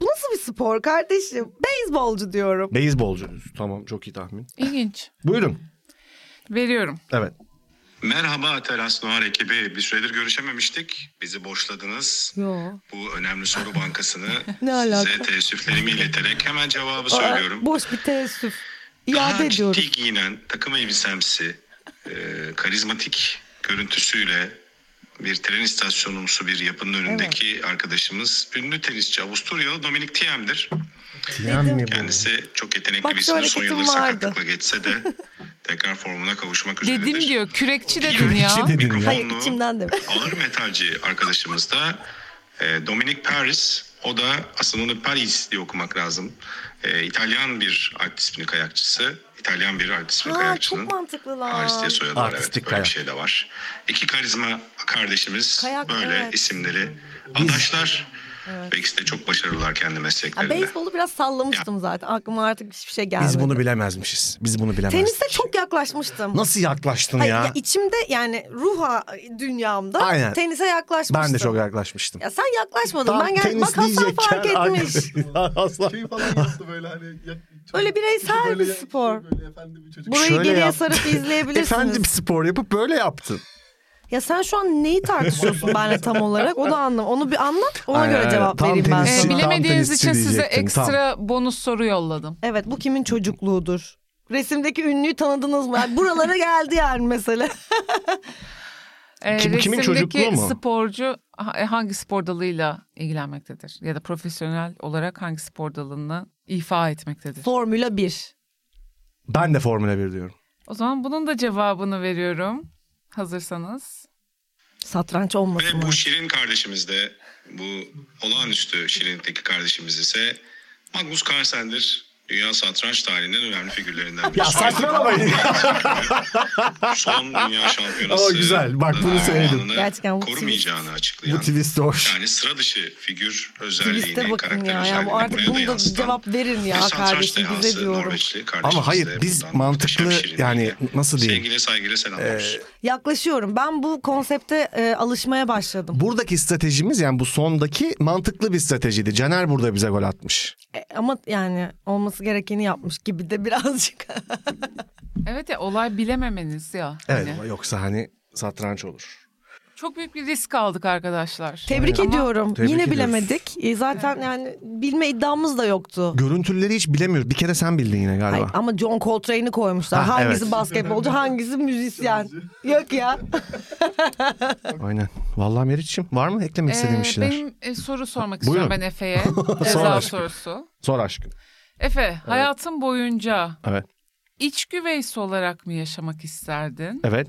Speaker 2: bu nasıl bir spor kardeşim? Beyzbolcu diyorum.
Speaker 1: Beyzbolcu. Tamam çok iyi tahmin.
Speaker 3: İlginç.
Speaker 1: Buyurun.
Speaker 3: Veriyorum.
Speaker 1: Evet.
Speaker 5: Merhaba Teras Noir ekibi. Bir süredir görüşememiştik. Bizi boşladınız. Bu önemli soru bankasını
Speaker 2: Ne alaka?
Speaker 5: size teessüflerimi ileterek hemen cevabı
Speaker 2: Aa,
Speaker 5: söylüyorum.
Speaker 2: boş bir teessüf.
Speaker 5: Daha
Speaker 2: İade ediyorum.
Speaker 5: ciddi giyinen takım elbisemsi, e, karizmatik görüntüsüyle bir tren istasyonumsu bir yapının önündeki arkadaşımız ünlü tenisçi Avusturyalı Dominic Thiem'dir.
Speaker 1: Tiyem mi bu?
Speaker 5: Kendisi çok yetenekli
Speaker 2: Bak şu
Speaker 5: birisinin son
Speaker 2: hareketim
Speaker 5: yıllık
Speaker 2: vardı.
Speaker 5: sakatlıkla geçse de tekrar formuna kavuşmak üzeredir.
Speaker 3: Dedim diyor kürekçi dedin
Speaker 5: Kürekçi
Speaker 3: ya.
Speaker 1: dedin ya.
Speaker 5: Mikrofonlu,
Speaker 2: Hayır içimden de.
Speaker 5: ağır metalci arkadaşımız da e, Dominic Paris. O da aslında onu Paris diye okumak lazım. E, İtalyan bir alt disiplin kayakçısı. İtalyan bir alt disiplin
Speaker 2: Aa,
Speaker 5: kayakçının.
Speaker 2: çok mantıklı lan.
Speaker 5: Paris diye soyadı var evet.
Speaker 1: Artistik
Speaker 5: Böyle
Speaker 1: kayak.
Speaker 5: bir şey de var. İki karizma kardeşimiz
Speaker 2: Kayak,
Speaker 5: böyle
Speaker 2: evet.
Speaker 5: isimleri adaşlar. Ve ikisi de çok başarılılar kendi
Speaker 2: Ya,
Speaker 5: mesleklerinde.
Speaker 2: beyzbolu biraz sallamıştım zaten. Aklıma artık hiçbir şey gelmedi.
Speaker 1: Biz bunu bilemezmişiz. Biz bunu bilemezdik.
Speaker 2: Tenise çok yaklaşmıştım.
Speaker 1: Nasıl yaklaştın
Speaker 2: Hayır,
Speaker 1: ya?
Speaker 2: ya içimde yani ruha dünyamda
Speaker 1: Aynen.
Speaker 2: tenise yaklaşmıştım.
Speaker 1: ben de çok yaklaşmıştım.
Speaker 2: Ya sen yaklaşmadın.
Speaker 1: Tam
Speaker 2: ben gel bak Hasan
Speaker 1: diyecekken
Speaker 2: fark etmiş.
Speaker 1: arkadaşlar asla-
Speaker 4: Şey falan yaptı böyle hani. Ya, çok-
Speaker 2: Öyle bireysel
Speaker 4: çok
Speaker 2: bir
Speaker 4: ya-
Speaker 2: spor.
Speaker 4: Şey böyle efendi bir çocuk.
Speaker 2: Burayı
Speaker 1: Şöyle
Speaker 2: geriye
Speaker 1: yaptı.
Speaker 2: sarıp izleyebilirsiniz.
Speaker 1: Efendim spor yapıp böyle yaptın.
Speaker 2: Ya sen şu an neyi tartışıyorsun benle tam olarak? Onu anlam. Onu bir anlat. Ona
Speaker 1: Aynen,
Speaker 2: göre cevap
Speaker 1: tam
Speaker 2: vereyim ben
Speaker 1: tenis-
Speaker 3: Ee,
Speaker 1: Tam
Speaker 2: sana.
Speaker 3: bilemediğiniz
Speaker 1: tenisçi
Speaker 3: için size
Speaker 1: diyecektim, tam.
Speaker 3: ekstra bonus soru yolladım.
Speaker 2: Evet bu kimin çocukluğudur? Resimdeki ünlüyü tanıdınız mı? Yani buralara geldi yani mesela.
Speaker 3: Ee,
Speaker 1: Kim- kimin
Speaker 3: resimdeki
Speaker 1: çocukluğu mu?
Speaker 3: sporcu ha- e, hangi spor dalıyla ilgilenmektedir? Ya da profesyonel olarak hangi spor dalını ifa etmektedir?
Speaker 2: Formula 1.
Speaker 1: Ben de Formula 1 diyorum.
Speaker 3: O zaman bunun da cevabını veriyorum. Hazırsanız.
Speaker 2: Satranç olmasın.
Speaker 5: Ve
Speaker 2: mı?
Speaker 5: bu Şirin kardeşimiz de bu olağanüstü Şirin'deki kardeşimiz ise Magnus Carlsen'dir. Dünya satranç tarihinin önemli figürlerinden biri.
Speaker 1: Ya saçmalamayın.
Speaker 5: Son dünya şampiyonası.
Speaker 1: Ama güzel. Bak bunu
Speaker 5: unvanını
Speaker 1: sevdim.
Speaker 2: Gerçekten bu
Speaker 5: korumayacağını
Speaker 1: Bu
Speaker 5: açıklayan.
Speaker 1: twist hoş.
Speaker 5: Yani sıra dışı figür
Speaker 2: Twist'e
Speaker 5: özelliğini,
Speaker 2: bakın
Speaker 5: karakter
Speaker 2: ya. ya
Speaker 5: özelliğini
Speaker 2: bu artık
Speaker 5: buraya
Speaker 2: bunu da
Speaker 5: yansıtan
Speaker 2: cevap verin ya
Speaker 5: bir satranç
Speaker 2: kardeşim bize
Speaker 5: dehası
Speaker 2: diyorum.
Speaker 5: Norveçli kardeşimiz
Speaker 1: Ama hayır
Speaker 5: de
Speaker 1: biz
Speaker 5: buradan muhteşem
Speaker 1: mantıklı
Speaker 5: Şirin'e
Speaker 1: yani nasıl diyeyim. Ee,
Speaker 5: Sevgiyle saygıyla selamlar.
Speaker 2: Yaklaşıyorum. Ben bu konsepte e, alışmaya başladım.
Speaker 1: Buradaki stratejimiz yani bu sondaki mantıklı bir stratejiydi. Caner burada bize gol atmış.
Speaker 2: E, ama yani olması gerekeni yapmış gibi de birazcık.
Speaker 3: Evet ya olay bilememeniz ya.
Speaker 1: Evet
Speaker 3: Hani.
Speaker 1: ama yoksa hani satranç olur.
Speaker 3: Çok büyük bir risk aldık arkadaşlar.
Speaker 2: Tebrik
Speaker 3: Ama
Speaker 2: ediyorum.
Speaker 1: Tebrik
Speaker 2: Yine
Speaker 1: ediyoruz.
Speaker 2: bilemedik. E, zaten yani bilme iddiamız da yoktu.
Speaker 1: Görüntüleri hiç bilemiyoruz. Bir kere sen bildin yine galiba.
Speaker 2: Hayır, ama John Coltrane'i koymuşlar.
Speaker 1: Ha,
Speaker 2: hangisi
Speaker 1: evet.
Speaker 2: basketbolcu, hangisi müzisyen? Yok ya.
Speaker 1: Aynen. Vallahi Meriç'im var mı eklemek istediğin bir
Speaker 3: Ee,
Speaker 1: şeyler?
Speaker 3: Benim e, soru sormak
Speaker 1: Buyurun.
Speaker 3: istiyorum ben Efe'ye.
Speaker 1: Sor
Speaker 3: Ceza
Speaker 1: aşkım.
Speaker 3: sorusu.
Speaker 1: Sor aşkım.
Speaker 3: Efe, hayatın boyunca
Speaker 1: Evet.
Speaker 3: iç güveysi olarak mı yaşamak isterdin?
Speaker 1: Evet.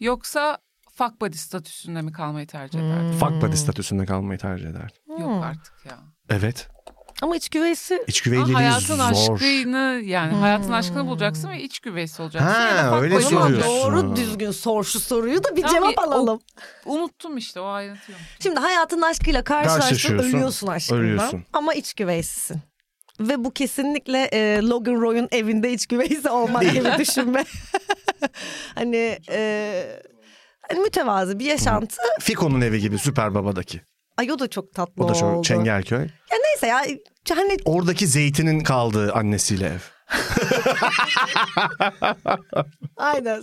Speaker 3: Yoksa fuck buddy statüsünde mi kalmayı tercih
Speaker 2: Hmm.
Speaker 3: ederdin?
Speaker 1: Fuck buddy statüsünde kalmayı tercih ederdin.
Speaker 3: Yok artık ya.
Speaker 1: Evet.
Speaker 2: Ama iç güveysi
Speaker 1: İç
Speaker 3: Ama
Speaker 1: güveyliliği
Speaker 3: hayatın
Speaker 1: zor.
Speaker 3: aşkını yani
Speaker 2: Hmm.
Speaker 3: hayatın aşkını bulacaksın ve iç güveysi olacaksın.
Speaker 1: Ha,
Speaker 3: ya da fuck
Speaker 1: öyle
Speaker 3: buddy
Speaker 2: Ama
Speaker 1: soruyorsun.
Speaker 3: olacaksın.
Speaker 2: doğru düzgün sor şu soruyu da bir
Speaker 3: Tam bir
Speaker 2: cevap
Speaker 3: o-
Speaker 2: alalım.
Speaker 3: Unuttum işte o ayrıntıyı. unuttum.
Speaker 2: Şimdi hayatın aşkıyla karşılaştın
Speaker 1: Karşılaşıyorsun,
Speaker 2: ölüyorsun aşkından
Speaker 1: ölüyorsun.
Speaker 2: ama iç güveysisin. Ve bu kesinlikle e, Logan Roy'un evinde iç güveysi olmak gibi düşünme. hani, e, hani mütevazı bir yaşantı.
Speaker 1: Fiko'nun evi gibi Süper Baba'daki.
Speaker 2: Ay o da çok tatlı
Speaker 1: O da
Speaker 2: oldu.
Speaker 1: şu Çengelköy.
Speaker 2: Ya neyse ya hani
Speaker 1: Oradaki zeytinin kaldığı annesiyle ev.
Speaker 2: aynen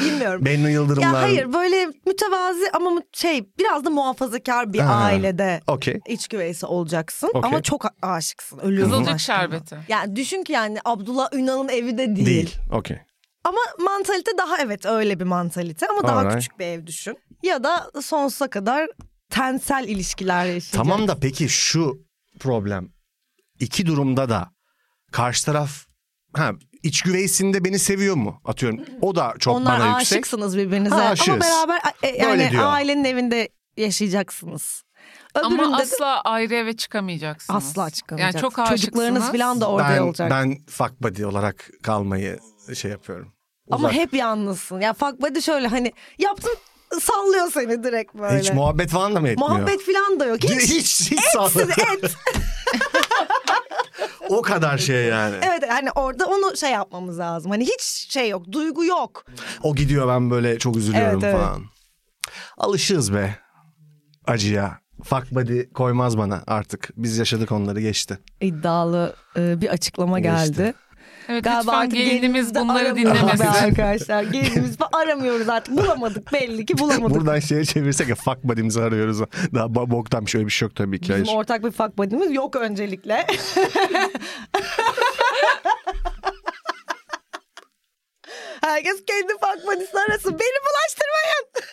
Speaker 2: bilmiyorum.
Speaker 1: Bennu Yıldırımlar.
Speaker 2: Ya hayır böyle mütevazi ama mü- şey biraz da muhafazakar bir
Speaker 1: Ha.
Speaker 2: ailede
Speaker 1: Okey.
Speaker 2: iç güveysi olacaksın
Speaker 1: Okey.
Speaker 2: ama çok a- aşıksın. Ölüyorsun
Speaker 3: Kızılcık
Speaker 2: aşkına.
Speaker 3: şerbeti.
Speaker 2: Yani düşün ki yani Abdullah Ünal'ın evi de değil.
Speaker 1: Değil. Okey.
Speaker 2: Ama mantalite daha evet öyle bir mantalite ama daha
Speaker 1: Alright.
Speaker 2: küçük bir ev düşün. Ya da sonsuza kadar tensel ilişkiler yaşayacak.
Speaker 1: Tamam da peki şu problem. İki durumda da karşı taraf ha iç güveysinde beni seviyor mu? Atıyorum. O da çok
Speaker 2: Onlar
Speaker 1: bana yüksek.
Speaker 2: aşıksınız birbirinize.
Speaker 1: Ha, aşığız.
Speaker 2: Ama beraber e,
Speaker 1: Böyle
Speaker 2: yani
Speaker 1: diyor.
Speaker 2: ailenin evinde yaşayacaksınız. Öbüründe
Speaker 3: Ama
Speaker 2: de-
Speaker 3: asla ayrı eve çıkamayacaksınız.
Speaker 2: asla
Speaker 3: Yani
Speaker 2: çıkamayacaksınız.
Speaker 3: çok aşıksınız.
Speaker 2: Çocuklarınız falan da orada
Speaker 1: ben,
Speaker 2: olacak.
Speaker 1: Ben fuck buddy olarak kalmayı şey yapıyorum.
Speaker 2: Ama
Speaker 1: Uzak.
Speaker 2: hep yalnızsın. Ya fuck buddy şöyle hani yaptın sallıyor seni direkt böyle.
Speaker 1: Hiç muhabbet falan da mı etmiyor?
Speaker 2: Muhabbet falan da yok.
Speaker 1: Hiç,
Speaker 2: Hiç. e,
Speaker 1: hiç, hiç sağ-
Speaker 2: et.
Speaker 1: o kadar şey yani.
Speaker 2: Evet hani orada onu şey yapmamız lazım. Hani hiç şey yok. Duygu yok.
Speaker 1: O gidiyor ben böyle çok üzülüyorum
Speaker 2: Evet, evet.
Speaker 1: falan. Alışığız be acıya. Fuck buddy koymaz bana artık. Biz yaşadık onları geçti.
Speaker 2: İddialı e, bir açıklama
Speaker 1: Geçti.
Speaker 2: geldi.
Speaker 3: Evet
Speaker 2: Galiba
Speaker 3: lütfen
Speaker 2: artık
Speaker 3: gelinimiz
Speaker 2: gelinimizi de
Speaker 3: bunları
Speaker 2: aramıyoruz be
Speaker 3: dinlemesin.
Speaker 2: arkadaşlar. Gelinimizi de aramıyoruz artık. Bulamadık belli ki bulamadık.
Speaker 1: Buradan şeye çevirsek ya fuck buddy'mizi arıyoruz. Daha ba- boktan bir şey öyle bir şey yok tabii ki.
Speaker 2: Bizim
Speaker 1: Hayır.
Speaker 2: ortak bir fuck buddy'miz yok öncelikle. Herkes kendi fuck buddy'si arasın. Beni bulaştırmayın.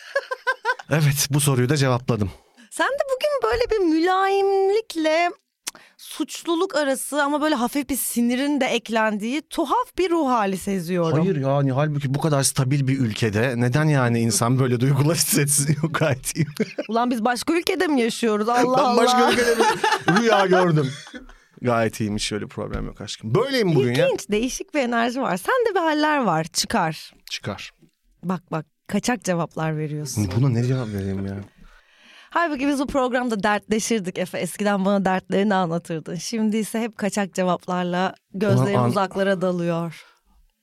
Speaker 1: Evet bu soruyu da cevapladım.
Speaker 2: Sen de bugün böyle bir mülayimlikle cık, suçluluk arası ama böyle hafif bir sinirin de eklendiği tuhaf bir ruh hali seziyorum.
Speaker 1: Hayır yani halbuki bu kadar stabil bir ülkede neden yani insan böyle duygular hissetsin yok gayet iyi.
Speaker 2: Ulan biz başka ülkede mi yaşıyoruz? Allah
Speaker 1: ben
Speaker 2: Allah.
Speaker 1: başka ülkede bir rüya gördüm. Gayet iyiymiş şöyle problem yok aşkım. Böyleyim bugün ya.
Speaker 2: İlginç, değişik bir enerji var. Sende bir haller var. Çıkar.
Speaker 1: Çıkar.
Speaker 2: Bak bak kaçak cevaplar veriyorsun.
Speaker 1: Buna ne cevap vereyim ya?
Speaker 2: Halbuki biz bu programda dertleşirdik Efe. Eskiden bana dertlerini anlatırdın. Şimdi ise hep kaçak cevaplarla gözlerin
Speaker 1: Ulan an-
Speaker 2: uzaklara dalıyor.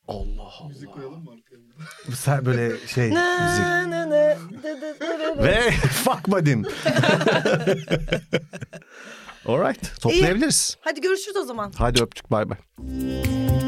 Speaker 1: Allah Allah.
Speaker 4: Müzik koyalım mı arkaya?
Speaker 1: Sen böyle şey müzik.
Speaker 2: Na, na, na, dı, dı, dı, dı, dı.
Speaker 1: Ve fuck buddy'm. Alright. Toplayabiliriz.
Speaker 2: Hadi görüşürüz o zaman.
Speaker 1: Hadi öptük bay bay.